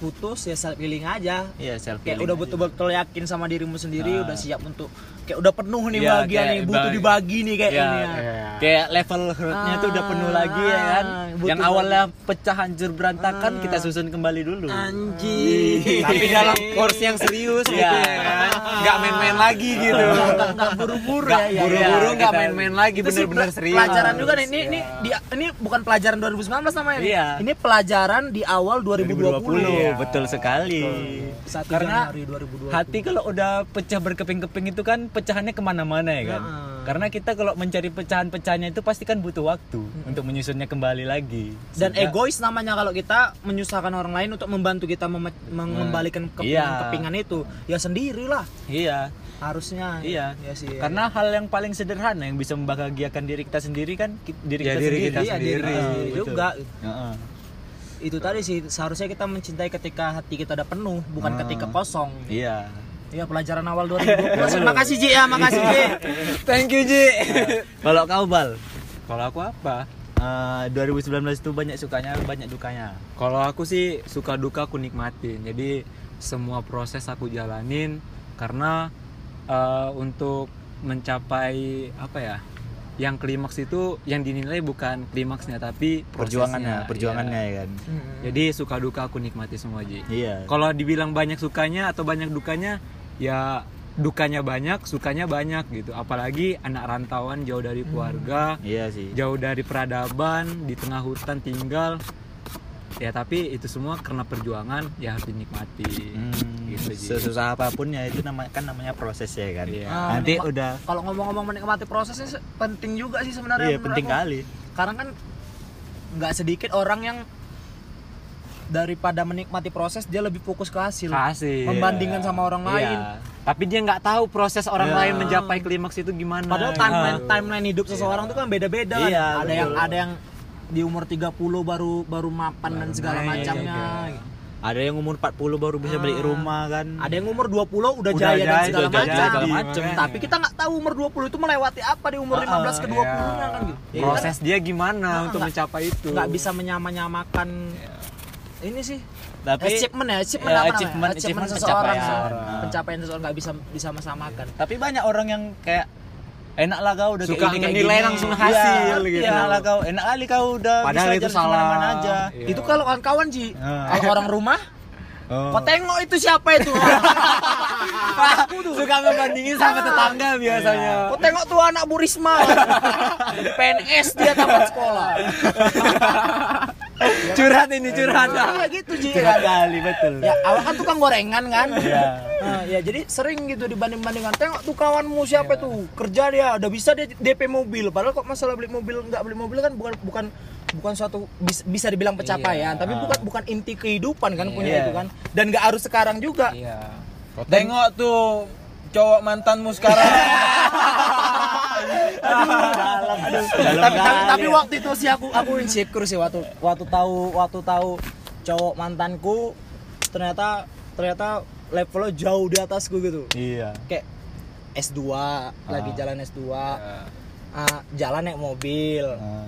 Speaker 2: putus ya self healing aja
Speaker 1: ya selfie.
Speaker 2: kayak udah betul-betul yakin sama dirimu sendiri udah siap untuk kayak udah penuh nih
Speaker 1: Iya,
Speaker 2: bahagia
Speaker 1: Nah. kayak
Speaker 2: nih butuh
Speaker 1: bang-
Speaker 2: dibagi nih kayak
Speaker 1: Ya,
Speaker 2: ini ya.
Speaker 1: Kayak level hurtnya tuh udah penuh lagi ya kan.
Speaker 2: Ah, butuh Ah.
Speaker 1: yang awalnya pecah hancur berantakan kita susun kembali dulu.
Speaker 3: Iya.
Speaker 2: anjing
Speaker 4: tapi dalam course yang serius gitu ya kan nggak main-main lagi gitu
Speaker 2: Nggak- nggak buru-buru ya, ya
Speaker 4: buru-buru
Speaker 2: ya.
Speaker 4: nggak main-main lagi
Speaker 2: itu sih
Speaker 4: bener-bener
Speaker 2: pela-
Speaker 4: serius
Speaker 2: pelajaran juga nih ini ini dia ini bukan pelajaran 2019 namanya nih.
Speaker 1: Ya. Iya.
Speaker 2: ini pelajaran di awal 2020,
Speaker 1: 2020, betul sekali.
Speaker 2: Satu
Speaker 1: iya. Karena
Speaker 2: Januari 2020.
Speaker 1: hati kalau udah pecah berkeping-keping itu kan pecahannya kemana-mana ya kan. Karena kita kalau mencari pecahan-pecahannya itu pasti kan butuh waktu untuk menyusunnya kembali lagi. eh,
Speaker 2: dan
Speaker 1: Sehingga-
Speaker 2: egois namanya kalau kita menyusahkan orang lain untuk membantu kita mem- mengembalikan
Speaker 1: Iya.
Speaker 2: kepingan-kepingan itu ya sendirilah
Speaker 1: Iya,
Speaker 2: harusnya
Speaker 1: iya.
Speaker 2: ya sih ya.
Speaker 1: Karena hal yang paling sederhana yang bisa membahagiakan diri kita sendiri kan ki- diri
Speaker 4: Ya,
Speaker 1: kita
Speaker 4: diri
Speaker 1: sendiri.
Speaker 4: kita
Speaker 2: Iya, diri kita
Speaker 1: Ah,
Speaker 2: sendiri
Speaker 1: betul.
Speaker 2: juga
Speaker 1: Heeh.
Speaker 2: itu tadi sih seharusnya kita mencintai ketika hati kita udah penuh bukan
Speaker 1: Ah.
Speaker 2: ketika kosong
Speaker 1: Iya.
Speaker 2: Iya pelajaran awal 2020 terima kasih Ji ya makasih Ji
Speaker 4: thank you Ji
Speaker 1: Kalau kau Bal,
Speaker 4: kalau aku apa
Speaker 1: eh, 2019 itu banyak sukanya, banyak dukanya.
Speaker 4: Kalau aku sih suka duka aku nikmatin. Jadi semua proses aku jalanin karena eh, untuk mencapai apa ya? Yang klimaks itu yang dinilai bukan klimaksnya tapi
Speaker 1: Perjuangannya,
Speaker 4: prosesnya.
Speaker 1: perjuangannya
Speaker 4: Iya.
Speaker 1: ya kan.
Speaker 4: Jadi suka duka aku nikmati semua Ji.
Speaker 1: Iya.
Speaker 4: Kalau dibilang banyak sukanya atau banyak dukanya, ya dukanya banyak, sukanya banyak gitu. Apalagi anak rantauan jauh dari keluarga
Speaker 1: Iya sih.
Speaker 4: jauh dari peradaban di tengah hutan tinggal ya tapi itu semua karena perjuangan ya harus dinikmati
Speaker 1: Hmm,
Speaker 4: gitu Ji.
Speaker 1: sesusah apapun ya itu nama kan namanya proses ya kan.
Speaker 4: Iya.
Speaker 2: Ah,
Speaker 1: Nanti
Speaker 2: menikma-
Speaker 1: udah
Speaker 2: kalau ngomong-ngomong menikmati prosesnya se- penting juga sih sebenarnya
Speaker 1: iya
Speaker 2: menurut
Speaker 1: penting
Speaker 2: aku.
Speaker 1: kali.
Speaker 2: karena kan nggak sedikit orang yang daripada menikmati proses dia lebih fokus ke hasil
Speaker 4: Hasil.
Speaker 2: membandingkan sama orang
Speaker 4: Iya.
Speaker 2: lain
Speaker 4: tapi dia nggak tahu proses orang lain mencapai klimaks itu gimana
Speaker 2: padahal timeline timeline hidup seseorang itu kan beda-beda kan.
Speaker 1: Nah. Iya,
Speaker 2: ada yang ada yang di umur 30 baru baru mapan dan
Speaker 1: Nah,
Speaker 2: segala
Speaker 1: iya,
Speaker 4: naik,
Speaker 2: macamnya
Speaker 1: Ada yang umur 40 baru bisa
Speaker 2: Ah.
Speaker 1: balik rumah kan.
Speaker 2: ada yang umur 20 udah,
Speaker 4: Udah
Speaker 2: jaya, dan
Speaker 4: jaya,
Speaker 2: segala
Speaker 4: udah
Speaker 2: macam
Speaker 4: jaya, segala macam.
Speaker 2: tapi kita nggak tahu umur 20 itu melewati apa di umur 15 ke 20 nya kan gitu
Speaker 4: Iya. proses dia gimana untuk mencapai itu
Speaker 2: Ah, nggak bisa menyamakan ini sih
Speaker 1: Tapi
Speaker 2: achievement ya achievement
Speaker 1: Ya,
Speaker 2: apa namanya?
Speaker 1: achievement- achievement
Speaker 2: seseorang
Speaker 1: pencapaian.
Speaker 2: seseorang. pencapaian seseorang nggak bisa bisa disamakan
Speaker 1: tapi banyak orang yang kayak enak lah kau udah
Speaker 4: Suka
Speaker 1: kayak gini,
Speaker 4: ngenilai
Speaker 1: gini."
Speaker 4: langsung
Speaker 1: Iya,
Speaker 4: hasil gitu.
Speaker 1: Enak lah kau, enak kali kau udah
Speaker 4: Padahal
Speaker 1: bisa
Speaker 4: itu
Speaker 1: jalan kemana-mana
Speaker 4: salah.
Speaker 1: aja.
Speaker 4: Iya.
Speaker 2: itu kalau kawan-kawan ji kalau orang rumah
Speaker 1: Oh.
Speaker 2: kok tengok itu siapa itu
Speaker 4: suka membandingin sama tetangga biasanya
Speaker 2: kok tengok tuh anak Bu Risma PNS dia tamat sekolah
Speaker 4: curhat ini curhat
Speaker 2: Iya gitu ji
Speaker 1: Curhat kali betul.
Speaker 2: ya awal kan tukang gorengan kan
Speaker 1: Iya.
Speaker 2: Nah, ya jadi sering gitu dibanding bandingkan tengok tuh kawanmu
Speaker 1: Iya.
Speaker 2: siapa itu kerja dia udah bisa dia DP mobil padahal kok masalah beli mobil nggak beli mobil kan bukan bukan bukan suatu bis- bisa dibilang pencapaian tapi bukan bukan inti kehidupan kan punya
Speaker 1: Ah. Iya.
Speaker 2: itu kan dan nggak harus sekarang juga
Speaker 4: iya
Speaker 3: Tengok tuh cowok mantanmu sekarang.
Speaker 1: Dalam
Speaker 2: tapi, tapi,
Speaker 1: kali.
Speaker 2: tapi waktu itu sih aku aku insecure sih waktu waktu tahu waktu tahu cowok mantanku ternyata ternyata levelnya jauh di atasku gitu
Speaker 1: Iya.
Speaker 2: kayak S2 lagi jalan S2
Speaker 4: Ya.
Speaker 2: Ah, jalan naik mobil
Speaker 1: Ah,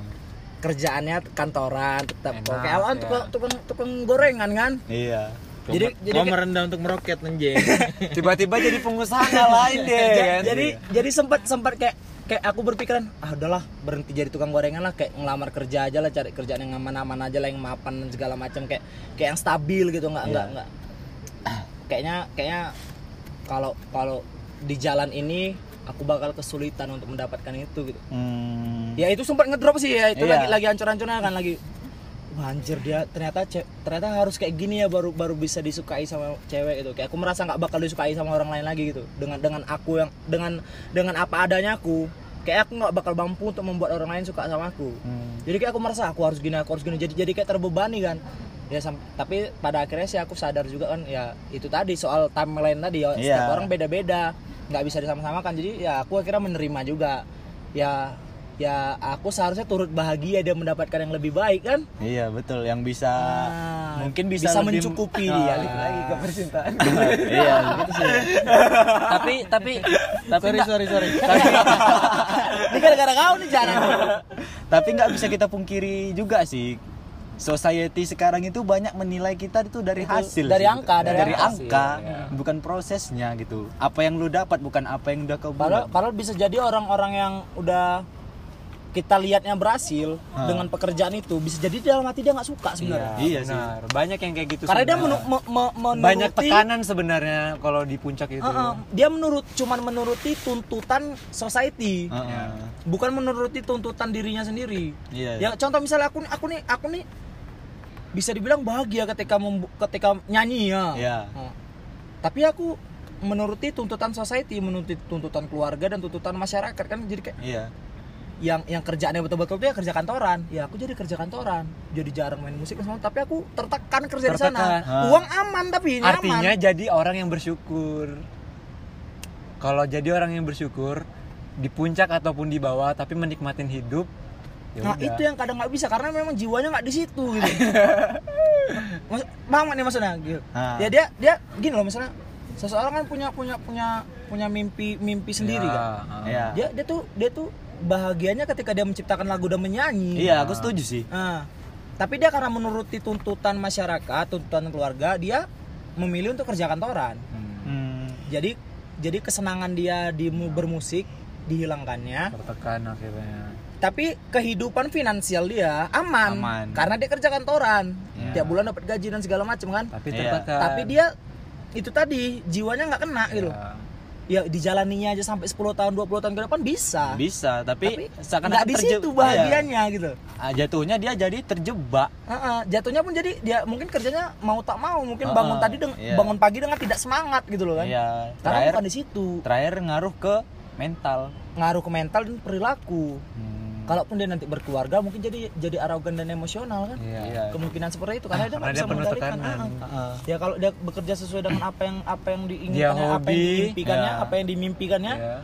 Speaker 2: kerjaannya kantoran tetap
Speaker 4: Enak,
Speaker 2: kok kayak awan
Speaker 4: ya.
Speaker 2: tukang, tukang tukang gorengan kan
Speaker 1: Iya.
Speaker 2: jadi jadi
Speaker 3: Mau merendah untuk meroket anjing.
Speaker 4: tiba-tiba jadi pengusaha nggak lain deh
Speaker 2: ja-
Speaker 4: kan?
Speaker 2: jadi jadi sempat sempat kayak kayak aku berpikiran ah udahlah berhenti jadi tukang gorengan lah kayak ngelamar kerja aja lah cari kerjaan yang aman-aman aja lah yang mapan dan segala macam kayak kayak yang stabil gitu nggak
Speaker 4: Iya.
Speaker 2: nggak nggak kayaknya kayaknya kalau kalau di jalan ini aku bakal kesulitan untuk mendapatkan itu gitu
Speaker 1: Hmm.
Speaker 2: ya itu sempat ngedrop sih ya itu
Speaker 1: Iya.
Speaker 2: lagi lagi hancur-hancurnya kan lagi Wah, anjir dia ternyata ce- ternyata harus kayak gini ya baru baru bisa disukai sama cewek gitu kayak aku merasa nggak bakal disukai sama orang lain lagi gitu dengan dengan aku yang dengan dengan apa adanya aku kayak aku nggak bakal mampu untuk membuat orang lain suka sama aku jadi kayak aku merasa aku harus gini aku harus gini jadi jadi kayak terbebani kan ya sam- tapi pada akhirnya sih aku sadar juga kan ya itu tadi soal timeline tadi ya
Speaker 1: Iya.
Speaker 2: setiap orang beda-beda nggak bisa disama-samakan jadi ya aku akhirnya menerima juga ya ya aku seharusnya turut bahagia dan mendapatkan yang lebih baik kan
Speaker 1: Iya betul yang bisa
Speaker 2: Ah,
Speaker 1: Nah, mungkin bisa,
Speaker 2: bisa
Speaker 1: lebih-
Speaker 2: mencukupi Iya,
Speaker 1: Ah,
Speaker 2: dia.
Speaker 5: balik lagi ke percintaan
Speaker 1: iya gitu sih.
Speaker 3: tapi tapi tapi sorry sorry sorry
Speaker 2: ini gara-gara kau nih jarang
Speaker 1: Tapi nggak bisa kita pungkiri juga sih. Society sekarang itu banyak menilai kita itu dari
Speaker 2: Itu
Speaker 1: hasil.
Speaker 2: dari
Speaker 1: sih.
Speaker 2: angka, dari iya.
Speaker 1: dari
Speaker 2: angka sih,
Speaker 1: angka, bukan prosesnya gitu. Apa yang lu dapat bukan apa yang udah kau
Speaker 2: padahal,
Speaker 1: buat.
Speaker 2: padahal bisa jadi orang-orang yang udah kita lihatnya berhasil dengan pekerjaan itu bisa jadi dalam hati dia nggak suka sebenarnya
Speaker 1: Ah. Iya sih.
Speaker 4: benar. Banyak yang kayak gitu.
Speaker 2: karena dia
Speaker 4: sebenarnya.
Speaker 2: menu- me- me- menuruti
Speaker 4: banyak
Speaker 1: gitu.
Speaker 4: tekanan sebenarnya kalau di puncak itu.
Speaker 2: Heeh, dia menurut cuman menuruti tuntutan society
Speaker 4: Iya.
Speaker 1: Heeh.
Speaker 2: bukan menuruti tuntutan dirinya sendiri.
Speaker 1: Iya,
Speaker 2: Ya contoh misalnya aku nih aku nih aku nih bisa dibilang bahagia ketika membu- ketika nyanyi ya.
Speaker 1: Iya.
Speaker 2: Nah, Tapi aku menuruti tuntutan society, menuruti tuntutan keluarga dan tuntutan masyarakat kan jadi kayak
Speaker 1: Iya.
Speaker 2: yang yang kerjaannya betul-betul tuh ya kerja kantoran. Ya aku jadi kerja kantoran, jadi jarang main musik dan semua, tapi aku tertekan kerja di sana.
Speaker 4: Tertekan.
Speaker 1: Ha.
Speaker 2: Uang aman tapi nyaman.
Speaker 4: Artinya jadi orang yang bersyukur. Kalau jadi orang yang bersyukur di puncak ataupun di bawah tapi menikmatin hidup ya
Speaker 2: Nah
Speaker 4: udah.
Speaker 2: itu yang kadang nggak bisa karena memang jiwanya nggak di situ gitu. Maksud, paham nggak nih maksudnya? Gitu.
Speaker 1: Ah.
Speaker 2: Ya dia dia gini loh misalnya seseorang kan punya punya punya punya mimpi mimpi sendiri
Speaker 4: Ya,
Speaker 2: kan.
Speaker 4: ah.
Speaker 1: Iya.
Speaker 2: Dia dia tuh dia tuh bahagianya ketika dia menciptakan lagu dan menyanyi.
Speaker 1: Iya, aku setuju sih.
Speaker 2: Nah, tapi dia karena menuruti tuntutan masyarakat, tuntutan keluarga, dia memilih untuk kerja kantoran.
Speaker 1: Hmm.
Speaker 2: Jadi jadi kesenangan dia di mu- bermusik dihilangkannya
Speaker 4: Tertekan akhirnya.
Speaker 2: tapi kehidupan finansial dia aman,
Speaker 1: Aman.
Speaker 2: karena dia kerja kantoran tiap bulan dapat gaji dan segala macam kan
Speaker 4: Tapi ya,
Speaker 1: Iya.
Speaker 4: tertekan.
Speaker 2: tapi dia itu tadi jiwanya nggak
Speaker 1: Iya.
Speaker 2: kena gitu
Speaker 4: Ya.
Speaker 2: ya dijalaninya aja sampai 10 tahun 20 tahun ke depan bisa Ah.
Speaker 1: Bisa,
Speaker 2: tapi
Speaker 1: tapi,
Speaker 2: nggak di
Speaker 1: terje-
Speaker 2: situ bahagianya gitu
Speaker 1: Iya. Ah, Jatuhnya dia jadi terjebak.
Speaker 2: Heeh, jatuhnya pun jadi dia mungkin kerjanya mau tak mau mungkin bangun
Speaker 1: Heeh,
Speaker 2: tadi deng-
Speaker 1: iya.
Speaker 2: bangun pagi dengan tidak semangat gitu loh kan
Speaker 1: Iya.
Speaker 2: karena
Speaker 1: Terakhir
Speaker 2: bukan di situ
Speaker 1: terakhir ngaruh ke mental. Hmm,
Speaker 2: ngaruh ke mental dan perilaku kalaupun dia nanti berkeluarga mungkin jadi jadi arogan dan emosional kan
Speaker 4: Iya.
Speaker 1: Iya.
Speaker 2: kemungkinan seperti itu karena dia
Speaker 4: Karena
Speaker 2: nggak
Speaker 4: dia
Speaker 2: bisa
Speaker 4: penuh
Speaker 2: mengendalikan
Speaker 4: tekanan.
Speaker 2: Ah, ah. ya kalau dia bekerja sesuai dengan apa yang apa yang
Speaker 4: Dia
Speaker 2: diinginkan apa yang
Speaker 4: hobi,
Speaker 2: dimimpikannya
Speaker 4: ya.
Speaker 2: apa yang dimimpikannya
Speaker 4: Ya.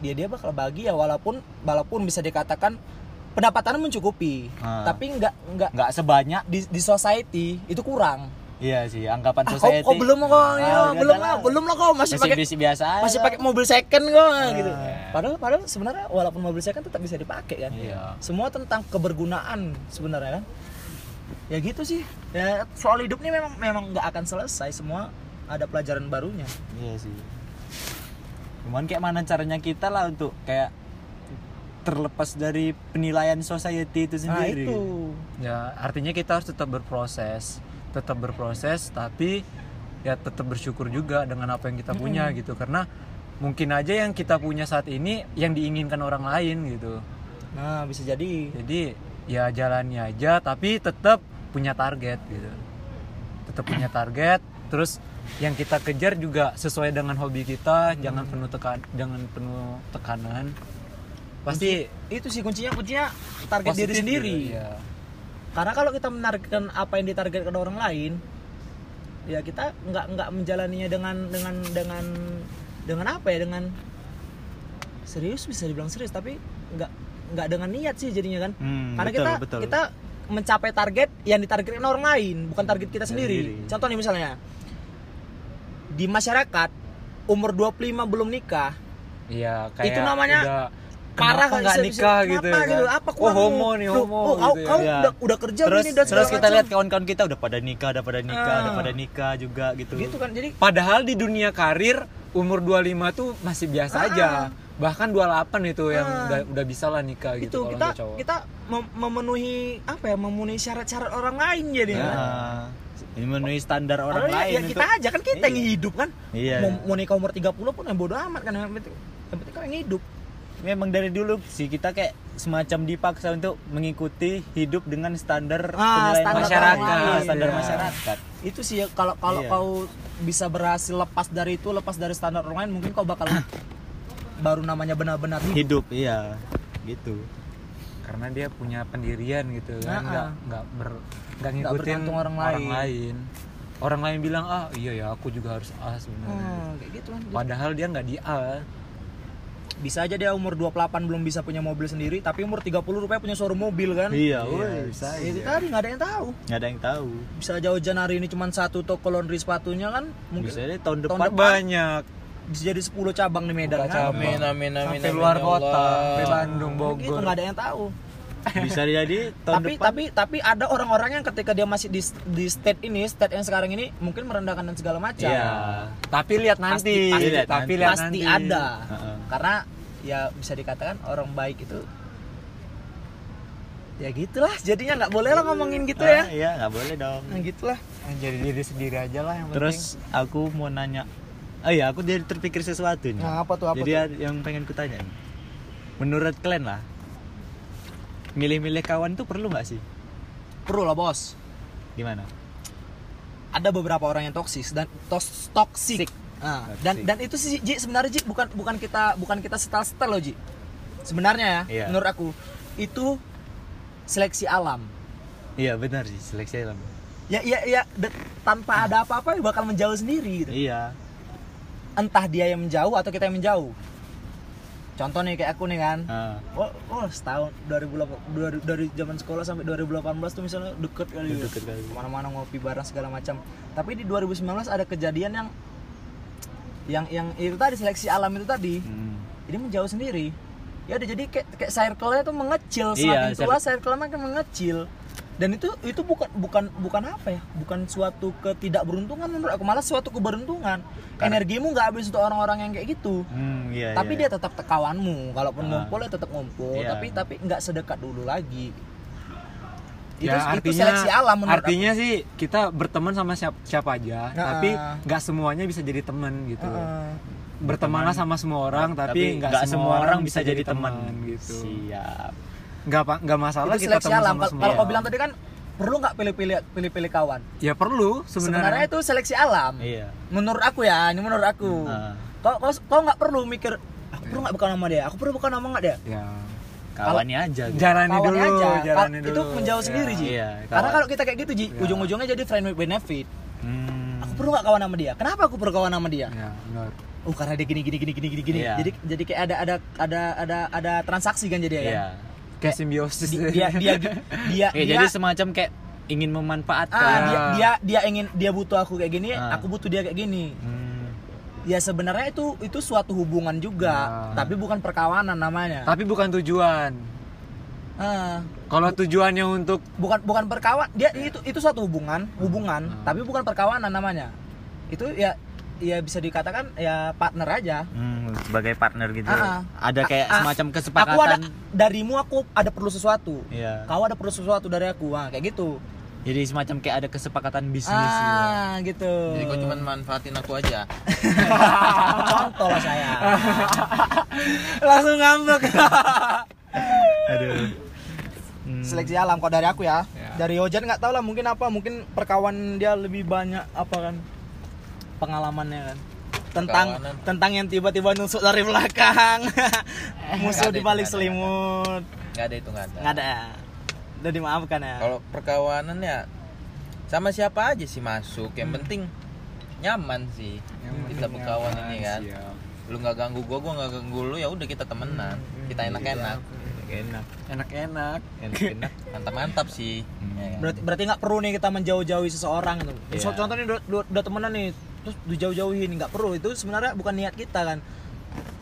Speaker 2: dia dia bakal bahagia walaupun walaupun bisa dikatakan pendapatannya mencukupi
Speaker 1: Ah.
Speaker 2: tapi nggak nggak
Speaker 1: Nggak sebanyak.
Speaker 2: di, di society itu kurang
Speaker 1: Iya sih, anggapan
Speaker 2: ah, kau,
Speaker 1: society.
Speaker 2: kau belum kok ya,
Speaker 1: udah,
Speaker 2: belum
Speaker 1: udah
Speaker 2: lah
Speaker 1: lah.
Speaker 2: belum lah kau masih
Speaker 1: masih
Speaker 2: pakai
Speaker 1: bisi biasa. aja.
Speaker 2: masih pakai mobil second kok gitu padahal padahal sebenarnya walaupun mobil second tetap bisa dipakai kan
Speaker 4: Iya.
Speaker 2: semua tentang kebergunaan sebenarnya kan ya gitu sih ya soal hidup ini memang memang nggak akan selesai semua ada pelajaran barunya
Speaker 1: Iya sih. Cuman kayak mana caranya kita lah untuk kayak terlepas dari penilaian society itu
Speaker 2: nah
Speaker 1: sendiri.
Speaker 2: itu
Speaker 4: Ya, artinya kita harus tetap berproses, tetap berproses, tapi ya tetap bersyukur juga dengan apa yang kita punya gitu, karena mungkin aja yang kita punya saat ini yang diinginkan orang lain gitu.
Speaker 2: nah bisa jadi
Speaker 4: Jadi ya jalani aja, tapi tetap punya target gitu, tetap punya target. Terus yang kita kejar juga sesuai dengan hobi kita, jangan
Speaker 2: Hmm.
Speaker 4: penuh tekan, jangan penuh tekanan. Pasti
Speaker 2: itu sih kuncinya kuncinya target diri
Speaker 4: positif
Speaker 2: sendiri
Speaker 4: gitu,
Speaker 1: iya.
Speaker 4: ya.
Speaker 2: karena kalau kita menargetkan apa yang ditargetkan orang lain ya kita nggak nggak menjalaninya dengan dengan dengan dengan apa ya dengan serius bisa dibilang serius tapi nggak nggak dengan niat sih jadinya kan
Speaker 1: Hmm,
Speaker 2: karena
Speaker 1: betul,
Speaker 2: kita
Speaker 1: betul.
Speaker 2: kita mencapai target yang ditargetkan orang lain bukan target kita sendiri
Speaker 1: Sendiri.
Speaker 2: contoh nih misalnya di masyarakat umur 25 belum nikah
Speaker 4: Iya, kayak
Speaker 2: Itu namanya
Speaker 4: udah,
Speaker 2: parah
Speaker 4: kenapa
Speaker 2: kan,
Speaker 4: nggak
Speaker 2: bisa- bisa-
Speaker 4: nikah
Speaker 2: kenapa
Speaker 4: gitu, ya kan?
Speaker 2: apa
Speaker 4: oh
Speaker 2: kurangmu?
Speaker 4: homo nih
Speaker 2: Loh,
Speaker 4: homo
Speaker 2: oh, kau,
Speaker 4: gitu ya.
Speaker 2: kau
Speaker 1: Iya.
Speaker 2: udah, udah kerja
Speaker 1: terus
Speaker 2: gini dan
Speaker 1: terus
Speaker 2: segala
Speaker 1: kita
Speaker 2: macam.
Speaker 1: lihat kawan-kawan kita udah pada nikah, udah pada nikah,
Speaker 2: Ah.
Speaker 1: udah pada nikah juga gitu.
Speaker 2: gitu kan jadi
Speaker 4: Padahal di dunia karir umur 25 tuh masih biasa aja. Bahkan 28 itu yang
Speaker 2: Ah.
Speaker 4: udah udah bisa lah nikah
Speaker 2: itu
Speaker 4: gitu kalau
Speaker 2: kita
Speaker 4: untuk cowok.
Speaker 2: kita mem- memenuhi apa ya memenuhi syarat-syarat orang lain jadi
Speaker 1: Ya.
Speaker 2: kan?
Speaker 1: Ini memenuhi standar orang
Speaker 2: Padahal ya-
Speaker 1: lain
Speaker 2: ya, kita
Speaker 1: untuk-
Speaker 2: aja kan kita yang hidup kan
Speaker 1: Iya.
Speaker 2: mau, mau nikah umur 30 pun yang bodo amat kan yang penting yang penting kau yang hidup
Speaker 1: Memang dari dulu sih kita kayak semacam dipaksa untuk mengikuti hidup dengan standar
Speaker 2: Ah,
Speaker 1: penilaian
Speaker 2: standar
Speaker 1: masyarakat,
Speaker 2: orang lain.
Speaker 1: standar
Speaker 2: Iya.
Speaker 1: masyarakat.
Speaker 2: itu sih ya kalau kalau
Speaker 1: Iya.
Speaker 2: kau bisa berhasil lepas dari itu lepas dari standar orang lain mungkin kau bakal baru namanya benar-benar hidup
Speaker 1: Hidup, iya. Gitu.
Speaker 4: Karena dia punya pendirian gitu
Speaker 2: Ah.
Speaker 4: kan, nggak nggak ber nggak
Speaker 2: Nggak
Speaker 4: ngikutin
Speaker 2: bergantung orang lain.
Speaker 4: lain. Orang lain bilang ah iya ya aku juga harus A sebenarnya.
Speaker 2: Hmm, kayak gitu kan
Speaker 4: Padahal dia nggak di A.
Speaker 2: bisa aja dia umur 28 belum bisa punya mobil sendiri tapi umur 30 rupanya punya showroom mobil kan
Speaker 1: Iya, woi.
Speaker 2: bisa itu tadi nggak ada yang tahu
Speaker 1: Nggak ada yang tahu.
Speaker 2: bisa aja hujan hari ini cuma satu toko laundry sepatunya kan mungkin
Speaker 1: Bisa deh tahun
Speaker 2: Tahun depan.
Speaker 1: depan.
Speaker 4: banyak
Speaker 2: bisa jadi 10 cabang di Medan kan
Speaker 3: Amin amin amin.
Speaker 4: sampai
Speaker 3: amin,
Speaker 4: luar
Speaker 3: ya
Speaker 4: kota
Speaker 3: Allah.
Speaker 4: sampai Bandung
Speaker 2: Begitu,
Speaker 4: Bogor
Speaker 2: nggak ada yang tahu
Speaker 1: Bisa jadi tahun
Speaker 2: tapi
Speaker 1: depan.
Speaker 2: tapi tapi ada orang-orang yang ketika dia masih di di state ini state yang sekarang ini mungkin merendahkan dan segala macam
Speaker 1: Iya.
Speaker 4: tapi lihat nanti
Speaker 1: pasti lihat
Speaker 4: tapi
Speaker 1: nanti.
Speaker 4: lihat
Speaker 2: pasti
Speaker 4: nanti
Speaker 2: ada
Speaker 1: Heeh.
Speaker 2: karena ya bisa dikatakan orang baik itu ya gitulah jadinya nggak boleh lah ngomongin gitu ya
Speaker 1: Ah, Iya, nggak boleh dong.
Speaker 2: nah gitulah
Speaker 4: jadi diri sendiri aja lah yang
Speaker 1: Terus aku mau nanya. Oh iya, aku jadi terpikir sesuatu nih.
Speaker 2: Nah, apa tuh, apa
Speaker 1: Jadi ada yang pengen ku tanya. nih. Menurut kalian lah, milih-milih kawan tuh perlu nggak sih?
Speaker 2: perlu lah bos
Speaker 1: Gimana?
Speaker 2: ada beberapa orang yang toksis dan tos toksik Nah, dan dan itu sih Ji sebenarnya Ji bukan bukan kita bukan kita setel setel loh Ji sebenarnya ya
Speaker 1: Iya.
Speaker 2: menurut aku itu seleksi alam
Speaker 1: Iya benar sih seleksi alam.
Speaker 2: ya ya ya de- tanpa ada apa-apa ya bakal menjauh sendiri gitu
Speaker 1: Iya.
Speaker 2: entah dia yang menjauh atau kita yang menjauh contoh nih kayak aku nih kan
Speaker 1: Ah,
Speaker 2: oh, oh setahun 2008 dari, dari zaman sekolah sampai 2018 tuh misalnya deket kali ya.
Speaker 1: Deket kali.
Speaker 2: kemana-mana ngopi bareng segala macam tapi di 2019 ada kejadian yang yang yang itu tadi seleksi alam itu tadi
Speaker 1: hmm.
Speaker 2: jadi menjauh sendiri ya udah jadi kayak, kayak circle-nya tuh mengecil semakin
Speaker 1: Iya,
Speaker 2: tua circle-nya makin mengecil dan itu itu bukan bukan bukan apa ya bukan suatu ketidakberuntungan menurut aku malah suatu keberuntungan energimu nggak habis untuk orang-orang yang kayak gitu
Speaker 1: Hmm, iya.
Speaker 2: tapi
Speaker 1: iya.
Speaker 2: dia tetap kawanmu kalaupun
Speaker 1: Ah.
Speaker 2: ngumpul ya tetap ngumpul
Speaker 1: Iya.
Speaker 2: tapi tapi nggak sedekat dulu lagi itu,
Speaker 4: ya
Speaker 2: itu
Speaker 4: artinya
Speaker 2: seleksi alam menurut
Speaker 4: artinya sih kita berteman sama siapa, siapa aja
Speaker 2: Nah,
Speaker 4: tapi
Speaker 2: ah.
Speaker 4: nggak semuanya bisa jadi teman
Speaker 2: aku.
Speaker 4: gitu
Speaker 2: Heeh.
Speaker 4: bertemanlah sama semua orang
Speaker 1: Tapi
Speaker 4: tapi nggak
Speaker 1: nggak
Speaker 4: semua orang bisa jadi teman gitu
Speaker 1: Siap.
Speaker 4: nggak apa nggak masalah
Speaker 2: itu
Speaker 4: kita
Speaker 2: seleksi
Speaker 4: teman
Speaker 2: alam
Speaker 4: sama
Speaker 2: Kal-
Speaker 4: semua
Speaker 2: kalau kau
Speaker 4: orang.
Speaker 2: bilang tadi kan perlu nggak pilih-pilih pilih-pilih kawan
Speaker 4: ya perlu
Speaker 2: sebenarnya
Speaker 4: sebenarnya
Speaker 2: itu seleksi alam
Speaker 1: Iya.
Speaker 2: menurut aku ya ini menurut aku
Speaker 1: Ah.
Speaker 2: kau kau kau nggak perlu mikir aku perlu nggak bukan nama dia aku perlu bukan nama nggak dia
Speaker 4: ya
Speaker 1: Kawannya aja. gitu.
Speaker 4: jalani
Speaker 2: Kawan
Speaker 4: dulu
Speaker 2: aja
Speaker 4: jalani
Speaker 2: Ka-
Speaker 4: dulu
Speaker 2: itu menjauh
Speaker 4: Ya.
Speaker 2: sendiri ji
Speaker 1: Iya,
Speaker 2: karena
Speaker 1: kawan.
Speaker 2: kalau kita kayak gitu ji ujung-ujungnya jadi friend with benefit
Speaker 1: Ya. Hmm.
Speaker 2: aku perlu nggak kawan sama dia kenapa aku perlu kawan sama dia
Speaker 4: ya benar
Speaker 2: oh karena dia gini gini gini gini gini gini
Speaker 1: Iya.
Speaker 2: jadi jadi kayak ada ada ada ada ada transaksi kan jadi ya
Speaker 1: Iya.
Speaker 2: kan?
Speaker 4: kayak simbiosis
Speaker 2: Di- dia dia dia dia,
Speaker 1: Oke, jadi semacam kayak ingin memanfaatkan.
Speaker 2: ah, dia
Speaker 4: Ya.
Speaker 2: dia dia ingin dia butuh aku kayak gini
Speaker 1: Ah.
Speaker 2: aku butuh dia kayak gini
Speaker 1: Hmm.
Speaker 2: ya sebenarnya itu itu suatu hubungan juga
Speaker 1: Ah.
Speaker 4: Ya.
Speaker 2: tapi bukan perkawanan namanya
Speaker 4: tapi bukan tujuan
Speaker 2: Ah,
Speaker 4: kalau tujuannya untuk
Speaker 2: bukan bukan perkawan dia
Speaker 3: Iya.
Speaker 2: itu itu suatu hubungan hubungan
Speaker 3: Hmm.
Speaker 2: tapi bukan perkawanan namanya itu ya ya bisa dikatakan ya partner aja
Speaker 1: Hmm, sebagai partner gitu.
Speaker 2: Ah, ah.
Speaker 1: Ada kayak
Speaker 2: Ah, ah.
Speaker 1: semacam
Speaker 2: aku ada
Speaker 1: kesepakatan.
Speaker 2: darimu aku ada perlu sesuatu
Speaker 1: Iya.
Speaker 2: kau ada perlu sesuatu dari aku Wah, kayak gitu
Speaker 1: Jadi semacam kayak ada kesepakatan bisnis gitu.
Speaker 2: ah gitu
Speaker 3: Jadi kau cuma manfaatin aku aja.
Speaker 2: contoh lah saya
Speaker 4: langsung ngambek
Speaker 1: Aduh.
Speaker 3: Hmm.
Speaker 2: seleksi alam kok dari aku ya dari Ojan nggak tahu lah mungkin apa mungkin perkawan dia lebih banyak apa kan pengalamannya kan tentang
Speaker 3: Perkawanan.
Speaker 2: tentang yang tiba-tiba nusuk dari belakang musuh
Speaker 3: Nggak ada
Speaker 2: di balik
Speaker 3: itu, nggak ada,
Speaker 2: selimut
Speaker 3: Nggak ada Oh, itu nggak ada.
Speaker 2: nggak ada ya udah dimaafkan ya
Speaker 3: Kalau perkawanan ya sama siapa aja sih masuk. Yang penting nyaman sih. kita berkawan ini kan. Lu nggak ganggu gua, gua nggak ganggu lu. Ya udah kita temenan. Kita enak-enak.
Speaker 1: Enak,
Speaker 4: enak-enak
Speaker 1: enak, enak.
Speaker 3: Mantap-mantap sih. Ya kan?
Speaker 2: berarti berarti nggak perlu nih kita menjauh-jauhi seseorang gitu
Speaker 1: Iya.
Speaker 2: So- contohnya udah, udah, udah temenan nih terus dijauh-jauhin nggak perlu itu sebenarnya bukan niat kita kan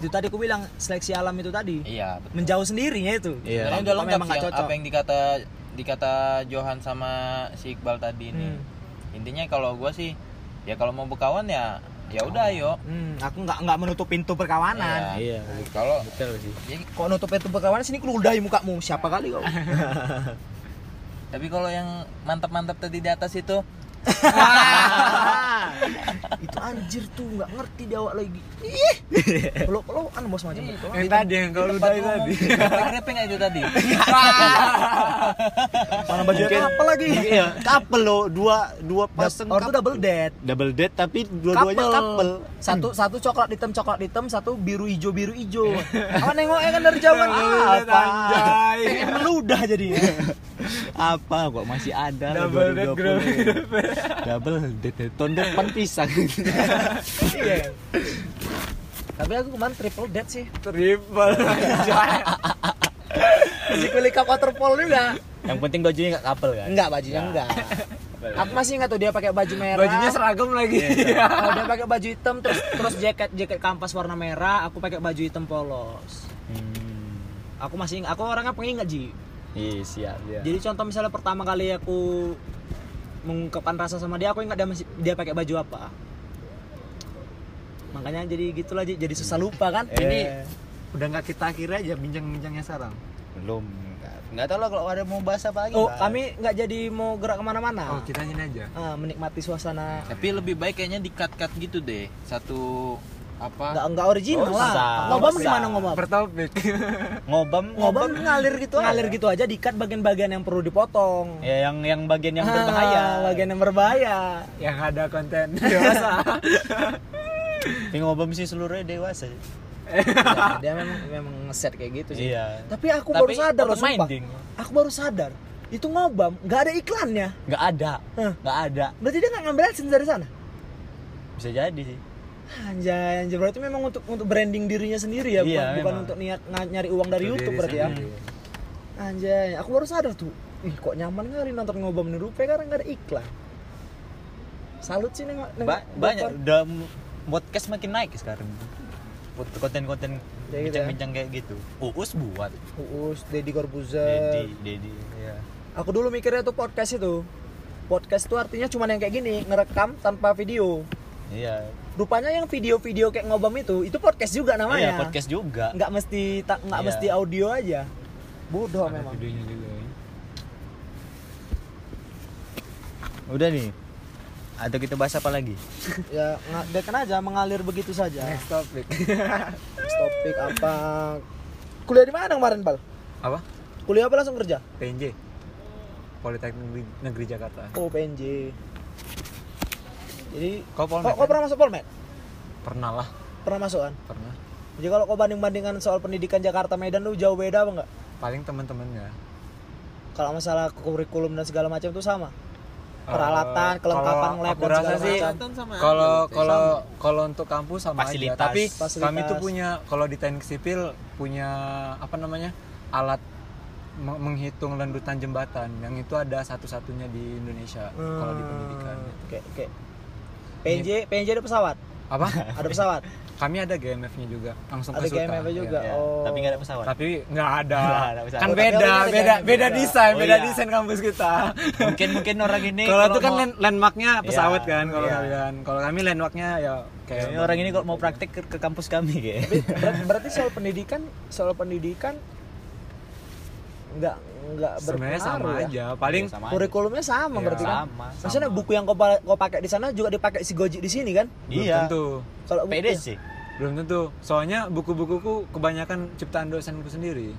Speaker 2: itu tadi aku bilang seleksi alam itu tadi
Speaker 3: Iya, betul.
Speaker 2: menjauh sendirinya itu
Speaker 1: Iya.
Speaker 3: Sebenarnya
Speaker 2: Kalau
Speaker 3: udah lengkap
Speaker 2: memang
Speaker 3: sih
Speaker 2: nggak
Speaker 3: yang- apa yang dikata dikata Johan sama si Iqbal tadi ini. Intinya kalau gua sih ya kalau mau berkawan ya ya udah ayo.
Speaker 2: Hmm, aku nggak nggak menutup pintu perkawanan.
Speaker 1: Iya.
Speaker 3: Kalau
Speaker 1: Betul sih.
Speaker 3: ya,
Speaker 2: Kok nutup pintu perkawanan sini keludahi mukamu. Siapa kali kau?
Speaker 3: tapi kalau yang mantap-mantap tadi di atas itu
Speaker 2: itu anjir tuh nggak ngerti dia awak lagi. Ih. Peluk-pelukan bos macam itu.
Speaker 4: yang tadi yang kau ludahi tadi
Speaker 3: Grepe-grepe nggak itu tadi?
Speaker 2: Mana baju apa lagi?
Speaker 1: Iya, couple lo, dua dua pasang
Speaker 2: Orang tuh double
Speaker 1: couple.
Speaker 2: date.
Speaker 1: double date tapi dua-duanya couple.
Speaker 2: Hmm. Satu satu coklat hitam coklat hitam, satu biru hijau biru hijau. Kamu nengoknya kan dari zaman apa? Pengen meludah jadi.
Speaker 1: Apa kok masih ada lah
Speaker 4: Double date,
Speaker 1: 2020. double date tahun depan pisang.
Speaker 2: Iya. Tapi aku kemarin triple dead sih.
Speaker 4: Triple.
Speaker 2: Di kulit cup waterpolo juga.
Speaker 1: Yang penting bajunya nggak couple kan.
Speaker 2: Enggak bajunya enggak. Aku masih ingat tuh dia pakai baju merah.
Speaker 4: Bajunya seragam lagi.
Speaker 2: Oh, dia pakai baju hitam terus terus jaket jaket kampas warna merah, aku pakai baju hitam polos.
Speaker 1: Hmm.
Speaker 2: Aku masih ingat, aku orangnya pengingat Ji.
Speaker 1: Iya, siap. Ya.
Speaker 2: Jadi contoh misalnya pertama kali aku mengungkapkan rasa sama dia, aku ingat dia masih dia pakai baju apa. Makanya jadi gitulah Ji, jadi susah lupa kan.
Speaker 1: Ini
Speaker 6: udah nggak kita akhiri aja bincang-bincangnya sekarang
Speaker 1: belum.
Speaker 3: Nggak tahu lah kalau ada mau bahas apa lagi.
Speaker 2: Oh,
Speaker 3: Bang.
Speaker 2: kami nggak jadi mau gerak
Speaker 4: Oh,
Speaker 2: kemana-mana.
Speaker 4: kita ini aja.
Speaker 2: Ah, menikmati suasana
Speaker 3: Tapi lebih baik kayaknya di cut-cut gitu deh. Satu
Speaker 2: nggak
Speaker 3: apa?
Speaker 2: nggak original
Speaker 1: Nggak usah,
Speaker 2: lah. Ngobam
Speaker 1: nggak
Speaker 2: gimana
Speaker 1: usah.
Speaker 2: ngobam?
Speaker 4: Bertopik.
Speaker 1: Ngobam,
Speaker 2: Ngobam ngalir gitu ngalir gitu aja Eh, dikat bagian-bagian yang perlu dipotong.
Speaker 1: Ya yang yang bagian yang
Speaker 2: Ah,
Speaker 1: berbahaya.
Speaker 2: bagian yang berbahaya.
Speaker 4: yang ada konten
Speaker 2: Iya,
Speaker 4: dewasa.
Speaker 1: Tapi ngobam sih seluruhnya dewasa.
Speaker 2: Ya, dia memang memang ngeset kayak gitu sih.
Speaker 1: Iya.
Speaker 2: Tapi aku
Speaker 1: Tapi
Speaker 2: baru sadar loh
Speaker 1: open
Speaker 2: sumpah.
Speaker 1: minding.
Speaker 2: Aku baru sadar itu ngobam nggak ada iklannya.
Speaker 1: Nggak ada.
Speaker 2: Hah.
Speaker 1: Nggak ada.
Speaker 2: Berarti dia nggak ngambil adsense dari sana.
Speaker 1: Bisa jadi sih.
Speaker 2: Anjay, anjay berarti memang untuk untuk branding dirinya sendiri ya, bukan,
Speaker 1: Iya,
Speaker 2: bukan
Speaker 1: memang.
Speaker 2: untuk niat nga- nyari uang dari YouTube berarti ya. Anjay, aku baru sadar tuh. Ih, kok nyaman kali nonton ngobam di Rupiah karena nggak ada iklan. Salut sih nengok nengok
Speaker 1: Ba- banyak
Speaker 2: Gopar.
Speaker 1: udah m- podcast makin naik sekarang. Pot- Konten-konten
Speaker 2: Ya gitu ya.
Speaker 1: bincang-bincang kayak gitu. Uus buat.
Speaker 2: Uus, Deddy Corbuzier.
Speaker 1: Dedi, Dedi. Iya.
Speaker 2: Aku dulu mikirnya tuh podcast itu. Podcast itu artinya cuma yang kayak gini, ngerekam tanpa video.
Speaker 1: Iya.
Speaker 2: Rupanya yang video-video kayak ngobam itu, itu podcast juga
Speaker 1: Iya,
Speaker 2: namanya.
Speaker 1: podcast juga.
Speaker 2: ya? Nggak mesti tak nggak
Speaker 1: Iya.
Speaker 2: mesti audio aja. Bodoh
Speaker 4: Ada
Speaker 2: memang.
Speaker 4: videonya juga ya.
Speaker 1: Udah nih. Atau kita bahas apa lagi?
Speaker 2: Ya nga- biarkan aja mengalir begitu saja.
Speaker 4: Next topic.
Speaker 2: Topik apa? Kuliah di mana kemarin, Bal?
Speaker 4: Apa?
Speaker 2: Kuliah apa langsung kerja?
Speaker 4: PNJ. Politeknik Negeri, Negeri Jakarta.
Speaker 2: Oh, PNJ. Jadi
Speaker 4: Kau
Speaker 2: kok
Speaker 4: Polmed?
Speaker 2: kok
Speaker 4: kan?
Speaker 2: pernah masuk Polmed?
Speaker 4: Pernah lah,
Speaker 2: Pernah masuk kan?
Speaker 4: pernah.
Speaker 2: Jadi kalau kau banding-bandingkan soal pendidikan Jakarta Medan lu jauh beda apa enggak?
Speaker 4: Paling teman-temannya.
Speaker 2: Kalau masalah kurikulum dan segala macam tuh sama. Peralatan,
Speaker 4: Eh,
Speaker 2: kelengkapan
Speaker 4: kalau
Speaker 2: lab
Speaker 4: aku
Speaker 2: dan
Speaker 4: rasa
Speaker 2: segala
Speaker 4: sih,
Speaker 2: macam.
Speaker 4: Kalau kalau kalau untuk kampus sama
Speaker 1: Fasilitas.
Speaker 4: aja. Tapi
Speaker 2: Fasilitas.
Speaker 4: kami tuh punya kalau di teknik sipil punya apa namanya alat me- menghitung lendutan jembatan yang itu ada satu-satunya di Indonesia kalau di pendidikan. gitu.
Speaker 2: Oke, oke. PNJ, PNJ ada pesawat.
Speaker 4: Apa?
Speaker 2: Ada pesawat.
Speaker 4: Kami ada GMF-nya juga langsung
Speaker 2: ada
Speaker 4: ke Suta.
Speaker 2: GMF juga.
Speaker 1: Iya.
Speaker 2: Oh.
Speaker 1: Tapi nggak ada pesawat.
Speaker 4: Tapi nggak ada.
Speaker 1: Nggak ada pesawat. Oh,
Speaker 4: kan
Speaker 2: tapi
Speaker 4: beda,
Speaker 2: ada
Speaker 4: beda,
Speaker 2: GMF
Speaker 4: beda
Speaker 2: juga.
Speaker 4: desain,
Speaker 1: Oh,
Speaker 4: beda
Speaker 1: iya.
Speaker 4: desain kampus kita.
Speaker 1: mungkin mungkin orang ini
Speaker 4: kalau itu kan
Speaker 1: mau-
Speaker 4: land- landmarknya pesawat
Speaker 1: Iya.
Speaker 4: kan kalau
Speaker 1: Iya.
Speaker 4: kalian. Kalau kami landmarknya ya kayak
Speaker 1: Kayaknya orang ini kalau mau praktek ke, ke kampus kami kayak.
Speaker 2: Ber- berarti soal pendidikan, soal pendidikan nggak nggak
Speaker 4: sebenarnya sama
Speaker 2: berpengaruh ya?
Speaker 4: aja. Paling
Speaker 1: Iya, sama aja.
Speaker 2: Kurikulumnya sama
Speaker 4: Iya.
Speaker 2: berarti kan?
Speaker 1: Sama.
Speaker 2: Maksudnya buku yang kau, pa- kau pakai di sana juga dipakai si Goji di sini kan?
Speaker 4: belum
Speaker 1: Iya.
Speaker 4: tentu.
Speaker 2: Kalau buku-
Speaker 1: PD sih.
Speaker 4: Belum tentu. Soalnya buku-bukuku kebanyakan ciptaan dosenku sendiri.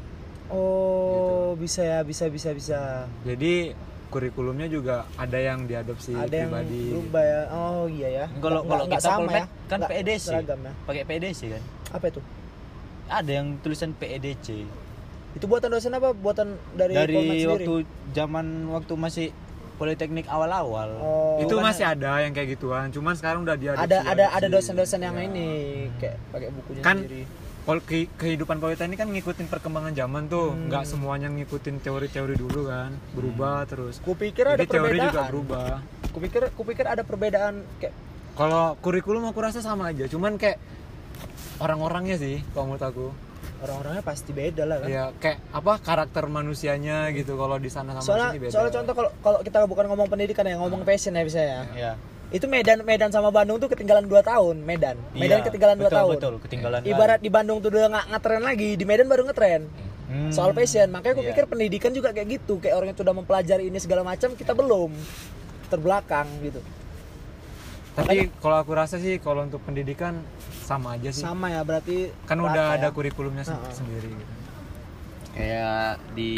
Speaker 2: Oh,
Speaker 4: Gitu.
Speaker 2: bisa ya, bisa bisa bisa.
Speaker 4: Jadi kurikulumnya juga ada yang diadopsi
Speaker 1: Iya,
Speaker 2: Ada yang
Speaker 4: pribadi.
Speaker 2: berubah ya. Oh, iya ya.
Speaker 1: gitu. Kalau
Speaker 2: Nggak-
Speaker 1: kalau
Speaker 2: nggak
Speaker 1: kita
Speaker 2: sama
Speaker 1: polmed
Speaker 2: ya.
Speaker 1: kan
Speaker 2: Nggak
Speaker 1: PEDC.
Speaker 2: Seragam ya.
Speaker 1: Pakai PEDC kan.
Speaker 2: Apa itu?
Speaker 1: Ada yang tulisan E PEDC.
Speaker 2: Itu buatan dosen apa? Buatan dari
Speaker 1: Dari,
Speaker 2: Polmed sendiri?
Speaker 1: waktu zaman waktu masih Politeknik awal-awal.
Speaker 2: Oh.
Speaker 4: Itu masih
Speaker 1: ya?
Speaker 4: ada yang kayak gituan, cuman sekarang udah diadopsi.
Speaker 2: ada ada ada
Speaker 4: adopsi.
Speaker 2: dosen-dosen yang
Speaker 1: Iya.
Speaker 4: Ya.
Speaker 2: ini kayak pakai bukunya
Speaker 4: Kan-
Speaker 2: sendiri.
Speaker 4: Pol- ke- kehidupan politeknik kan ngikutin perkembangan zaman tuh,
Speaker 2: Hmm.
Speaker 4: nggak semuanya ngikutin teori-teori dulu kan, berubah terus.
Speaker 2: Hmm. Kupikir ada
Speaker 4: Jadi teori juga
Speaker 2: perbedaan.
Speaker 4: berubah.
Speaker 2: Kupikir kupikir ada perbedaan kayak
Speaker 4: Kalau kurikulum aku rasa sama aja, cuman kayak orang-orangnya sih kalau menurut aku.
Speaker 2: orang-orangnya pasti beda lah
Speaker 1: Iya,
Speaker 2: kan.
Speaker 4: Ya kayak apa karakter manusianya gitu kalau di sana sama
Speaker 2: Soalnya
Speaker 4: sini beda.
Speaker 2: soalnya contoh kalau kalau kita bukan ngomong pendidikan ya, ngomong passion ya bisa ya.
Speaker 1: Nah. Iya.
Speaker 2: Itu Medan Medan sama Bandung tuh ketinggalan 2 tahun, Medan. Medan
Speaker 1: Iya,
Speaker 2: ketinggalan 2
Speaker 1: betul,
Speaker 2: tahun.
Speaker 1: Betul, ketinggalan.
Speaker 2: Ibarat di Bandung tuh udah nggak ngetren lagi, di Medan baru ngetren.
Speaker 1: Hmm.
Speaker 2: Soal passion, makanya aku
Speaker 1: Iya.
Speaker 2: pikir pendidikan juga kayak gitu, kayak orang yang sudah mempelajari ini segala macam, kita belum terbelakang gitu.
Speaker 4: Tapi kalau aku rasa sih kalau untuk pendidikan sama aja sih.
Speaker 2: Sama ya berarti
Speaker 4: Kan
Speaker 2: rata
Speaker 4: udah
Speaker 2: ya.
Speaker 4: ada kurikulumnya se-
Speaker 2: Heeh.
Speaker 4: sendiri gitu.
Speaker 3: Kayak di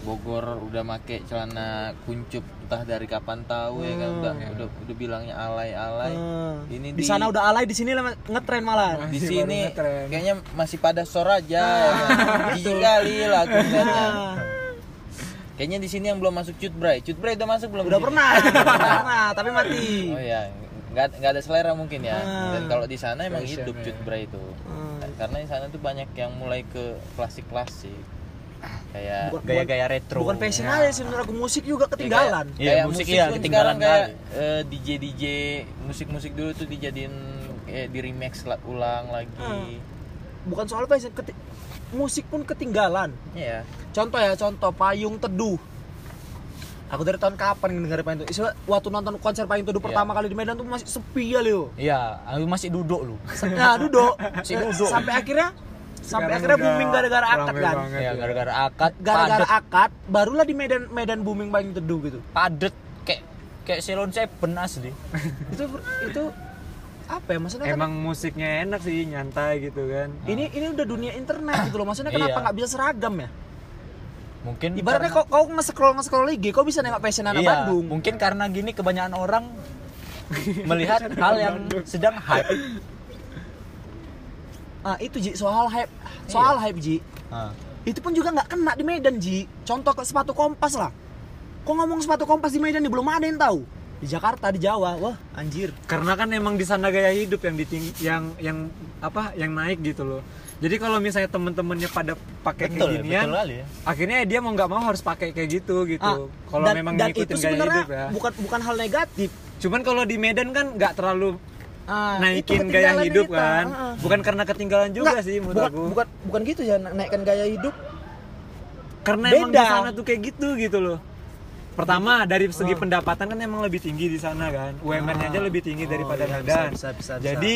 Speaker 3: Bogor udah make celana kuncup entah dari kapan tahu ya kan udah udah, udah bilangnya alay-alay.
Speaker 2: Hmm.
Speaker 3: Ini Nah.
Speaker 2: di sana udah alay di sini lem- ngetren malah
Speaker 3: di
Speaker 4: Masih baru
Speaker 3: sini
Speaker 4: ngetren.
Speaker 3: kayaknya masih pada sor aja ya kan?
Speaker 2: Ah.
Speaker 3: Jijik kali lagu kayaknya. Kayaknya di sini yang belum masuk cut bray. Cut bray udah masuk belum?
Speaker 2: udah
Speaker 3: di sini?
Speaker 2: pernah udah pernah tapi mati
Speaker 3: Oh iya. nggak nggak ada selera mungkin ya
Speaker 2: Ah.
Speaker 3: dan kalau di sana emang
Speaker 7: Fashion,
Speaker 3: hidup
Speaker 7: ya.
Speaker 3: cut bra itu
Speaker 2: Ah.
Speaker 3: karena di sana tuh banyak yang mulai ke klasik klasik kayak ya
Speaker 2: Bukan-
Speaker 1: Gaya-gaya retro.
Speaker 2: Bukan fashion aja sih menurut aku musik juga ketinggalan.
Speaker 3: kayak,
Speaker 1: Iya,
Speaker 3: kayak
Speaker 1: musik
Speaker 3: musik,
Speaker 1: iya,
Speaker 3: pun
Speaker 1: ketinggalan
Speaker 3: sekarang kayak eh, DJ DJ musik musik dulu tuh dijadiin eh, di remix la- ulang
Speaker 4: Ah.
Speaker 3: lagi
Speaker 2: Bukan soal fashion, keti- musik pun ketinggalan.
Speaker 3: Iya
Speaker 2: Contoh ya, contoh payung teduh. Aku dari tahun kapan dengar payung teduh? Isi- Waktu nonton konser payung teduh
Speaker 3: Iya.
Speaker 2: pertama kali di Medan tuh masih sepi ya Leo.
Speaker 1: Iya, aku masih duduk lu.
Speaker 2: Nah, duduk.
Speaker 1: Si duduk.
Speaker 2: Sampai akhirnya sampai
Speaker 7: Sekarang
Speaker 2: akhirnya
Speaker 7: udah
Speaker 2: booming gara-gara akad
Speaker 7: rame
Speaker 2: kan.
Speaker 4: Iya,
Speaker 7: banget
Speaker 1: Ya
Speaker 7: ya.
Speaker 1: gara-gara akad
Speaker 2: Gara-gara
Speaker 1: padet,
Speaker 2: akad barulah di Medan Medan booming payung teduh gitu.
Speaker 1: padet kayak kayak Ceylon Seven asli.
Speaker 2: Itu itu apa ya maksudnya kan
Speaker 4: Emang musiknya enak sih, nyantai gitu kan.
Speaker 2: ini ini udah dunia internet gitu loh. Maksudnya kenapa
Speaker 1: Iya.
Speaker 2: nggak bisa seragam ya?
Speaker 1: Mungkin
Speaker 2: Ibaratnya kau kau nge-scroll nge-scroll IG, kau bisa nengok fashion anak
Speaker 1: iya,
Speaker 2: Bandung.
Speaker 1: Mungkin karena gini kebanyakan orang melihat hal yang sedang hype.
Speaker 2: Ah, itu Ji, soal hype. Soal hype Ji.
Speaker 1: Ah.
Speaker 2: Itu pun juga nggak kena di Medan Ji. Contoh ke sepatu kompas lah. Kok ngomong sepatu kompas di Medan nih belum ada yang tahu. Di Jakarta, di Jawa, wah anjir.
Speaker 4: Karena kan emang di sana gaya hidup yang diting yang yang apa yang naik gitu loh. Jadi kalau misalnya temen-temennya pada pakai
Speaker 1: Betul,
Speaker 4: kayak ginian,
Speaker 1: betul kali ya.
Speaker 4: akhirnya dia mau nggak mau harus pakai kayak gitu gitu.
Speaker 2: Ah,
Speaker 4: kalau
Speaker 2: dan-
Speaker 4: memang
Speaker 2: dan
Speaker 4: ngikutin
Speaker 2: itu
Speaker 4: gaya
Speaker 2: sebenarnya
Speaker 4: hidup ya.
Speaker 2: bukan bukan hal negatif.
Speaker 4: Cuman kalau di Medan kan nggak terlalu
Speaker 2: Ah, itu
Speaker 4: naikin
Speaker 2: ketinggalan
Speaker 4: gaya hidup
Speaker 2: kita.
Speaker 4: kan.
Speaker 2: Ah.
Speaker 4: Bukan karena ketinggalan juga
Speaker 2: Nggak,
Speaker 4: sih menurut
Speaker 2: bukan,
Speaker 4: aku.
Speaker 2: Bukan bukan gitu ya na- naikkan gaya hidup.
Speaker 4: Karena emang
Speaker 2: Beda.
Speaker 4: di sana tuh kayak gitu gitu loh. Pertama dari
Speaker 1: Oh.
Speaker 4: segi pendapatan kan emang lebih tinggi di sana kan. UMR-nya
Speaker 1: Ah.
Speaker 4: aja lebih
Speaker 1: Oh,
Speaker 4: tinggi daripada
Speaker 2: iya, bisa,
Speaker 4: Medan.
Speaker 2: bisa, bisa, bisa.
Speaker 4: Jadi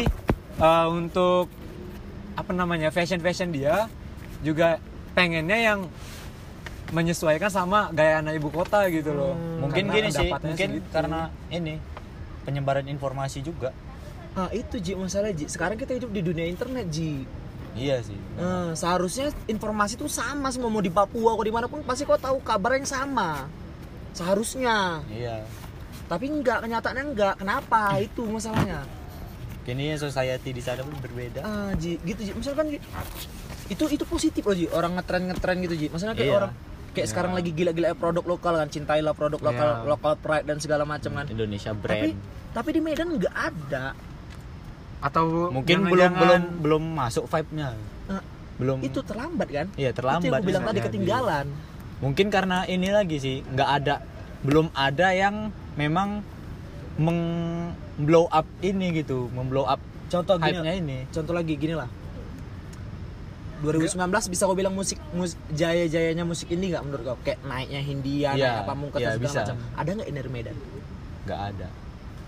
Speaker 4: eh, untuk apa namanya fashion-fashion dia juga pengennya yang menyesuaikan sama gaya anak ibu kota gitu loh.
Speaker 1: Mungkin
Speaker 4: Karena
Speaker 1: gini sih,
Speaker 4: pendapatannya
Speaker 1: mungkin
Speaker 4: segitu.
Speaker 1: karena ini penyebaran informasi juga.
Speaker 2: Ah, itu Ji masalah Ji. Sekarang kita hidup di dunia internet Ji.
Speaker 1: Iya sih.
Speaker 2: Eh, seharusnya informasi itu sama semua mau di Papua kok dimanapun pasti kau tahu kabar yang sama seharusnya
Speaker 1: Iya.
Speaker 2: tapi enggak kenyataannya enggak kenapa itu masalahnya
Speaker 1: Kini society di sana pun berbeda.
Speaker 2: ah ji gitu ji misalkan Ji, itu itu positif loh ji orang ngetren ngetren gitu ji maksudnya kayak
Speaker 1: Iya.
Speaker 2: orang kayak sekarang lagi gila-gila produk lokal kan cintailah produk lokal lokal pride dan segala macam kan
Speaker 1: Indonesia Hmm, brand.
Speaker 2: tapi tapi di Medan enggak ada
Speaker 4: atau
Speaker 1: mungkin belum
Speaker 4: jangan-jangan
Speaker 1: belum belum masuk vibe-nya.
Speaker 2: Ah,
Speaker 1: belum
Speaker 2: itu terlambat kan itu yang
Speaker 1: Iya, Hmm. terlambat.
Speaker 2: aku bilang
Speaker 1: bisa
Speaker 2: tadi
Speaker 1: jadi.
Speaker 2: ketinggalan
Speaker 1: Mungkin karena ini lagi sih, nggak ada belum ada yang memang meng blow up ini gitu, memblow up
Speaker 2: contoh Oh, gini
Speaker 1: hype-nya ini.
Speaker 2: contoh lagi gini lah 2019 bisa kau bilang musik mus, jaya jayanya musik ini nggak menurut kau kayak naiknya Hindia
Speaker 1: Iya,
Speaker 2: naik apa mungkin
Speaker 1: iya,
Speaker 2: segala
Speaker 1: bisa.
Speaker 2: macam ada nggak inner Medan
Speaker 1: nggak ada.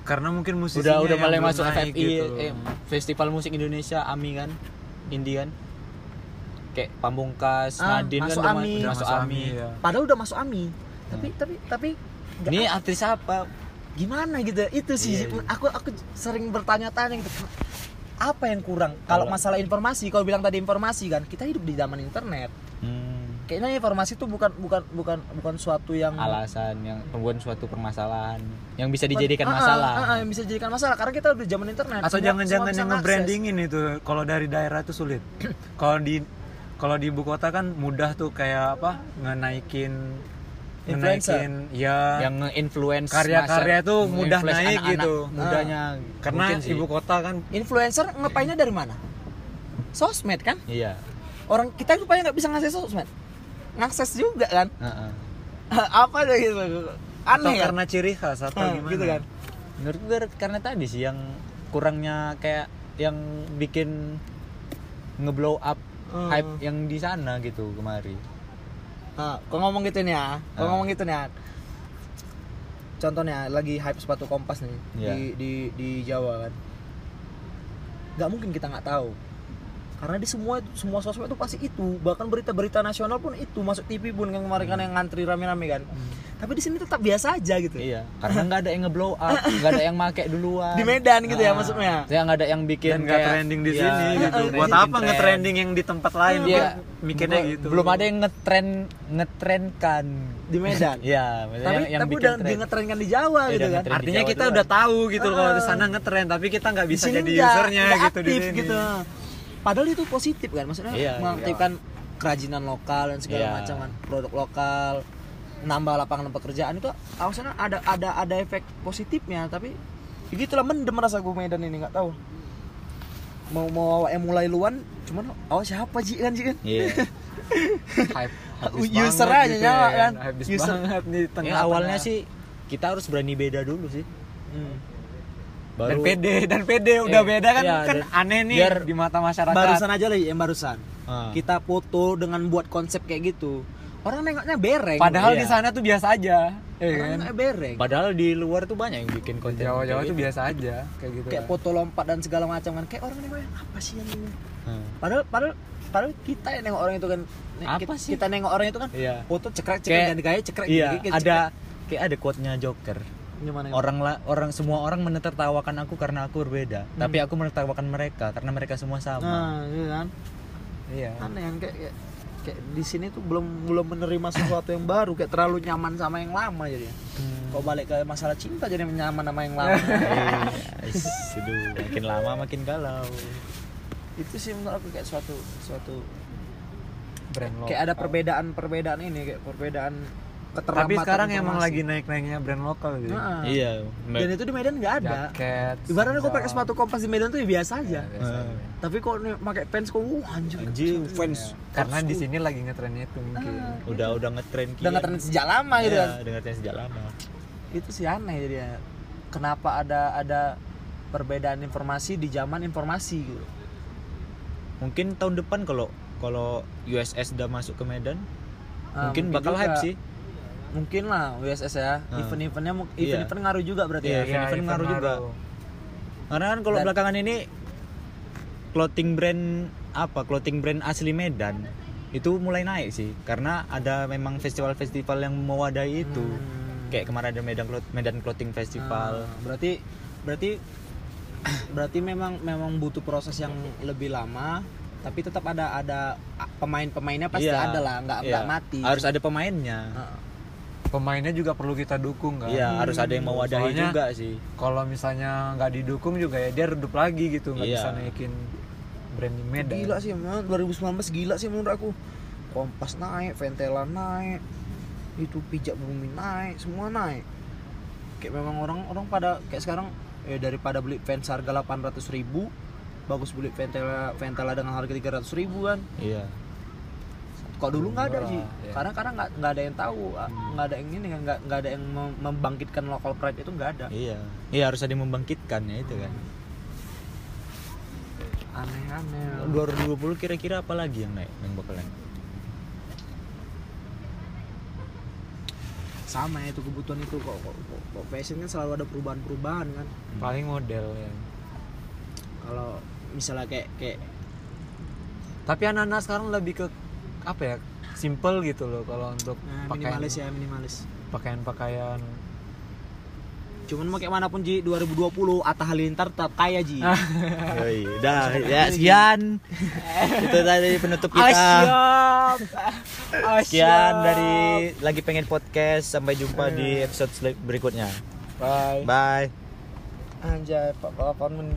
Speaker 4: karena mungkin
Speaker 1: Udah
Speaker 4: musisinya
Speaker 1: udah
Speaker 4: yang
Speaker 1: mulai
Speaker 4: belum
Speaker 1: masuk
Speaker 4: naik
Speaker 1: FFI
Speaker 4: gitu.
Speaker 1: eh, Festival Musik Indonesia AMI kan. Indie kan. Kayak Pamungkas,
Speaker 2: Ah,
Speaker 1: Nadine
Speaker 2: masuk
Speaker 1: kan udah ma-
Speaker 2: AMI.
Speaker 1: udah masuk AMI.
Speaker 4: ya.
Speaker 2: padahal udah masuk AMI
Speaker 1: Hmm.
Speaker 2: tapi tapi tapi nggak-
Speaker 1: Ini artis apa?
Speaker 2: gimana gitu itu sih
Speaker 1: Iya, iya.
Speaker 2: aku aku sering bertanya-tanya gitu apa yang kurang kalau masalah informasi kau bilang tadi informasi kan kita hidup di zaman internet
Speaker 1: Hmm,
Speaker 2: kayaknya informasi itu bukan bukan bukan bukan suatu yang
Speaker 1: alasan yang membuat suatu permasalahan yang bisa
Speaker 2: bukan-
Speaker 1: dijadikan
Speaker 2: Ah, ah,
Speaker 1: masalah.
Speaker 2: ah, ah, yang bisa dijadikan masalah karena kita udah zaman internet
Speaker 4: atau
Speaker 2: Semua- semua
Speaker 4: jangan-jangan yang
Speaker 2: bisa ngakses.
Speaker 4: nge-brandingin itu kalau dari daerah itu sulit kalau di kalau di ibu kota kan mudah tuh kayak apa ngenaikin
Speaker 2: Influencer.
Speaker 4: ngenaikin ya
Speaker 1: yang nge-influence
Speaker 4: karya-karya
Speaker 1: masa-
Speaker 4: tuh mudah
Speaker 1: nge-influence
Speaker 4: naik
Speaker 1: anak-anak
Speaker 4: gitu
Speaker 1: mudanya
Speaker 4: karena
Speaker 1: Mungkin sih.
Speaker 4: ibu kota kan
Speaker 2: Iya. Influencer ngepainnya dari mana? Sosmed kan?
Speaker 1: iya
Speaker 2: Orang kita rupanya nggak bisa ngakses sosmed. Ngakses juga kan?
Speaker 1: heeh.
Speaker 2: Apa deh gitu?
Speaker 4: atau
Speaker 2: Aneh kan?
Speaker 4: karena ciri khas atau
Speaker 2: Ah,
Speaker 4: gimana
Speaker 2: gitu kan?
Speaker 1: menurut gue karena tadi sih yang kurangnya kayak yang bikin ngeblow up
Speaker 4: Ah.
Speaker 2: Hmm.
Speaker 1: hype yang di sana gitu kemari
Speaker 2: Ah, kau ngomong gitu nih ya, kau
Speaker 1: Ah.
Speaker 2: ngomong gitu nih ya. Contohnya lagi hype sepatu kompas nih
Speaker 1: Iya.
Speaker 2: di, di di Jawa kan. Gak mungkin kita nggak tahu. Karena di semua semua sosmed itu pasti itu, bahkan berita-berita nasional pun itu masuk TV pun kan kemarin
Speaker 1: Hmm.
Speaker 2: kan yang ngantri rame-rame kan. Tapi di sini tetap biasa aja gitu.
Speaker 1: iya karena nggak ada yang ngeblow up nggak ada yang make duluan
Speaker 2: Di Medan gitu ya
Speaker 1: Heeh.
Speaker 2: maksudnya.
Speaker 1: saya nggak ada yang bikin
Speaker 4: dan nggak
Speaker 1: kayak-
Speaker 4: trending di
Speaker 1: Iya,
Speaker 4: sini gitu
Speaker 1: nggak
Speaker 4: buat
Speaker 1: bikin
Speaker 4: apa
Speaker 1: trend.
Speaker 4: nge-trending yang di tempat lain
Speaker 1: Iya.
Speaker 4: Mungkin mikirnya
Speaker 1: Belum-
Speaker 4: gitu
Speaker 1: belum ada yang ngetren ngetrenkan
Speaker 2: Di Medan.
Speaker 1: iya maksudnya
Speaker 2: tapi
Speaker 1: yang, yang
Speaker 2: tapi
Speaker 1: bikin
Speaker 2: udah
Speaker 1: trend.
Speaker 2: dingetrenkan di Jawa
Speaker 1: Iya,
Speaker 2: gitu
Speaker 1: udah
Speaker 2: kan
Speaker 1: ngetren.
Speaker 4: artinya
Speaker 1: Jawa
Speaker 4: kita
Speaker 1: doang.
Speaker 4: udah tahu gitu loh di
Speaker 2: Ah.
Speaker 4: sana ngetrend tapi kita nggak
Speaker 2: Di
Speaker 4: bisa
Speaker 2: sini
Speaker 4: jadi
Speaker 2: nggak-
Speaker 4: usernya
Speaker 2: nggak
Speaker 4: gitu di
Speaker 2: aktif
Speaker 4: sini
Speaker 2: gitu padahal itu positif kan maksudnya
Speaker 1: Iya,
Speaker 2: mengaktifkan kerajinan lokal dan segala
Speaker 1: Iya.
Speaker 2: macam kan produk lokal nambah lapangan pekerjaan itu maksudnya ada ada ada efek positifnya tapi
Speaker 5: begitulah mendem rasa gue Medan ini nggak tahu mau mau awak yang mulai luan cuman awak siapa ji kan ji kan
Speaker 1: Iya.
Speaker 4: hype
Speaker 5: User aja nyawa, kan?
Speaker 4: habis
Speaker 5: User.
Speaker 4: banget nih tengah
Speaker 1: Ya, awalnya sih kita harus berani beda dulu sih.
Speaker 4: dan
Speaker 1: Baru
Speaker 4: pede dan pede udah
Speaker 1: Eh,
Speaker 4: beda kan
Speaker 1: iya,
Speaker 4: kan
Speaker 1: dan
Speaker 4: aneh nih
Speaker 1: biar
Speaker 4: di mata masyarakat
Speaker 2: barusan aja lah yang barusan
Speaker 1: Ah.
Speaker 2: kita foto dengan buat konsep kayak gitu orang nengoknya bereng
Speaker 4: padahal
Speaker 1: Iya.
Speaker 4: di sana tuh biasa aja ya
Speaker 2: orang
Speaker 4: kan
Speaker 2: nengoknya bereng
Speaker 1: Padahal di luar tuh banyak yang bikin konten.
Speaker 4: Jawa-Jawa
Speaker 1: kayak
Speaker 4: tuh
Speaker 1: gitu.
Speaker 4: biasa aja kayak gitu
Speaker 2: kayak
Speaker 1: Iya.
Speaker 4: kan.
Speaker 2: foto lompat dan segala macam kan kayak orang nengoknya apa sih yang ini
Speaker 1: Hmm.
Speaker 2: padahal padahal padahal kita yang nengok orang itu kan ne-
Speaker 1: Apa
Speaker 2: kita,
Speaker 1: sih?
Speaker 2: kita nengok orang itu kan
Speaker 1: Iya.
Speaker 2: foto cekrek
Speaker 1: Kayak-
Speaker 2: cekrek dan gaya cekrek
Speaker 1: Iya,
Speaker 2: gigit, cekrek.
Speaker 1: ada kayak ada quote-nya Joker.
Speaker 2: Gimana, gimana?
Speaker 1: Orang la- orang semua orang menertawakan aku karena aku berbeda, tapi aku menertawakan mereka karena mereka semua sama.
Speaker 2: nah gitu kan
Speaker 4: iya
Speaker 2: aneh kan kayak, kayak kayak di sini tuh belum belum menerima sesuatu yang baru kayak terlalu nyaman sama yang lama jadi kok balik ke masalah cinta jadi nyaman sama yang lama
Speaker 1: Hmm. Iya, is, aduh, makin lama makin galau.
Speaker 2: itu sih menurut aku kayak suatu suatu
Speaker 4: brand lokal
Speaker 2: kayak ada perbedaan perbedaan ini kayak perbedaan keterampilan
Speaker 4: tapi sekarang emang lagi naik-naiknya brand lokal gitu
Speaker 2: Nah.
Speaker 1: Iya, me-
Speaker 2: dan itu di Medan nggak Ah, ada
Speaker 4: jaket
Speaker 2: ibaratnya kau
Speaker 4: sendal.
Speaker 2: pakai sepatu kompas di Medan tuh ya biasa
Speaker 1: Iya,
Speaker 2: aja
Speaker 4: Biasa aja.
Speaker 2: tapi kok nih pakai pants kok uh, wah anjir
Speaker 1: anjing fans
Speaker 4: karena di sini lagi ngetrennya itu mungkin
Speaker 2: Ah.
Speaker 1: udah udah ngetren kian.
Speaker 2: udah ngetren sejak lama gitu
Speaker 1: Iya,
Speaker 2: kan
Speaker 1: udah ngetren sejak lama.
Speaker 2: itu sih aneh jadi ya. kenapa ada ada perbedaan informasi di zaman informasi gitu
Speaker 1: Mungkin tahun depan kalau kalau USS udah masuk ke Medan,
Speaker 2: Ah,
Speaker 1: mungkin, bakal
Speaker 2: juga.
Speaker 1: hype sih.
Speaker 2: mungkin lah USS ya
Speaker 1: Ah.
Speaker 2: event-eventnya mu-
Speaker 1: Iya.
Speaker 2: event-event ngaruh juga berarti
Speaker 1: Iya,
Speaker 2: ya
Speaker 1: event-event ngaruh juga. Karena kan kalau
Speaker 2: Dan-
Speaker 1: belakangan ini clothing brand apa clothing brand asli Medan itu mulai naik sih karena ada memang festival-festival yang mewadahi itu kayak kemarin ada Medan Cloth- Medan Clothing
Speaker 2: Hmm.
Speaker 1: Festival
Speaker 2: Ah, berarti berarti berarti memang memang butuh proses yang lebih lama tapi tetap ada ada a- pemain-pemainnya pasti
Speaker 1: Iya,
Speaker 2: ada lah nggak
Speaker 1: iya.
Speaker 2: nggak mati
Speaker 1: harus ada pemainnya
Speaker 2: Ah.
Speaker 4: pemainnya juga perlu kita dukung kan
Speaker 1: iya harus ada
Speaker 2: Hmm,
Speaker 1: yang mewadahi
Speaker 4: Soalnya-
Speaker 1: juga sih
Speaker 4: kalau misalnya nggak didukung juga ya dia redup lagi gitu nggak
Speaker 1: Iya.
Speaker 4: bisa naikin brand di Medan
Speaker 5: gila sih man. 2019 gila sih menurut aku kompas naik ventela naik itu pijak bumi naik semua naik
Speaker 2: kayak memang orang orang pada kayak sekarang eh, daripada beli fans harga 800 ribu bagus beli ventela ventela dengan harga 300 ribu kan
Speaker 1: iya
Speaker 2: kok dulu nggak ada sih
Speaker 4: Murah, ya.
Speaker 2: karena karena nggak nggak ada yang tahu ah, nggak ada yang ini nggak nggak ada yang mem- membangkitkan local pride itu nggak ada
Speaker 1: iya iya harus ada yang membangkitkan ya itu kan
Speaker 2: aneh-aneh
Speaker 1: 2020 kira-kira apa lagi yang naik yang bakal naik
Speaker 2: sama ya itu kebutuhan itu kok kok, kok, kok fashion kan selalu ada perubahan-perubahan kan
Speaker 4: paling model ya
Speaker 2: kalau misalnya kayak kayak
Speaker 4: tapi anak-anak sekarang lebih ke apa ya simple gitu loh kalau untuk
Speaker 2: eh,
Speaker 4: pakaian
Speaker 2: minimalis ya minimalis
Speaker 4: pakaian pakaian
Speaker 2: cuman mau kayak manapun Ji 2020 Atta Halilintar tetap kaya Ji
Speaker 1: Yoi, dah ya sekian itu tadi penutup kita Sekian dari lagi pengen podcast. Sampai jumpa di episode sel- berikutnya.
Speaker 4: bye
Speaker 1: Bye.
Speaker 5: anjay pak balapon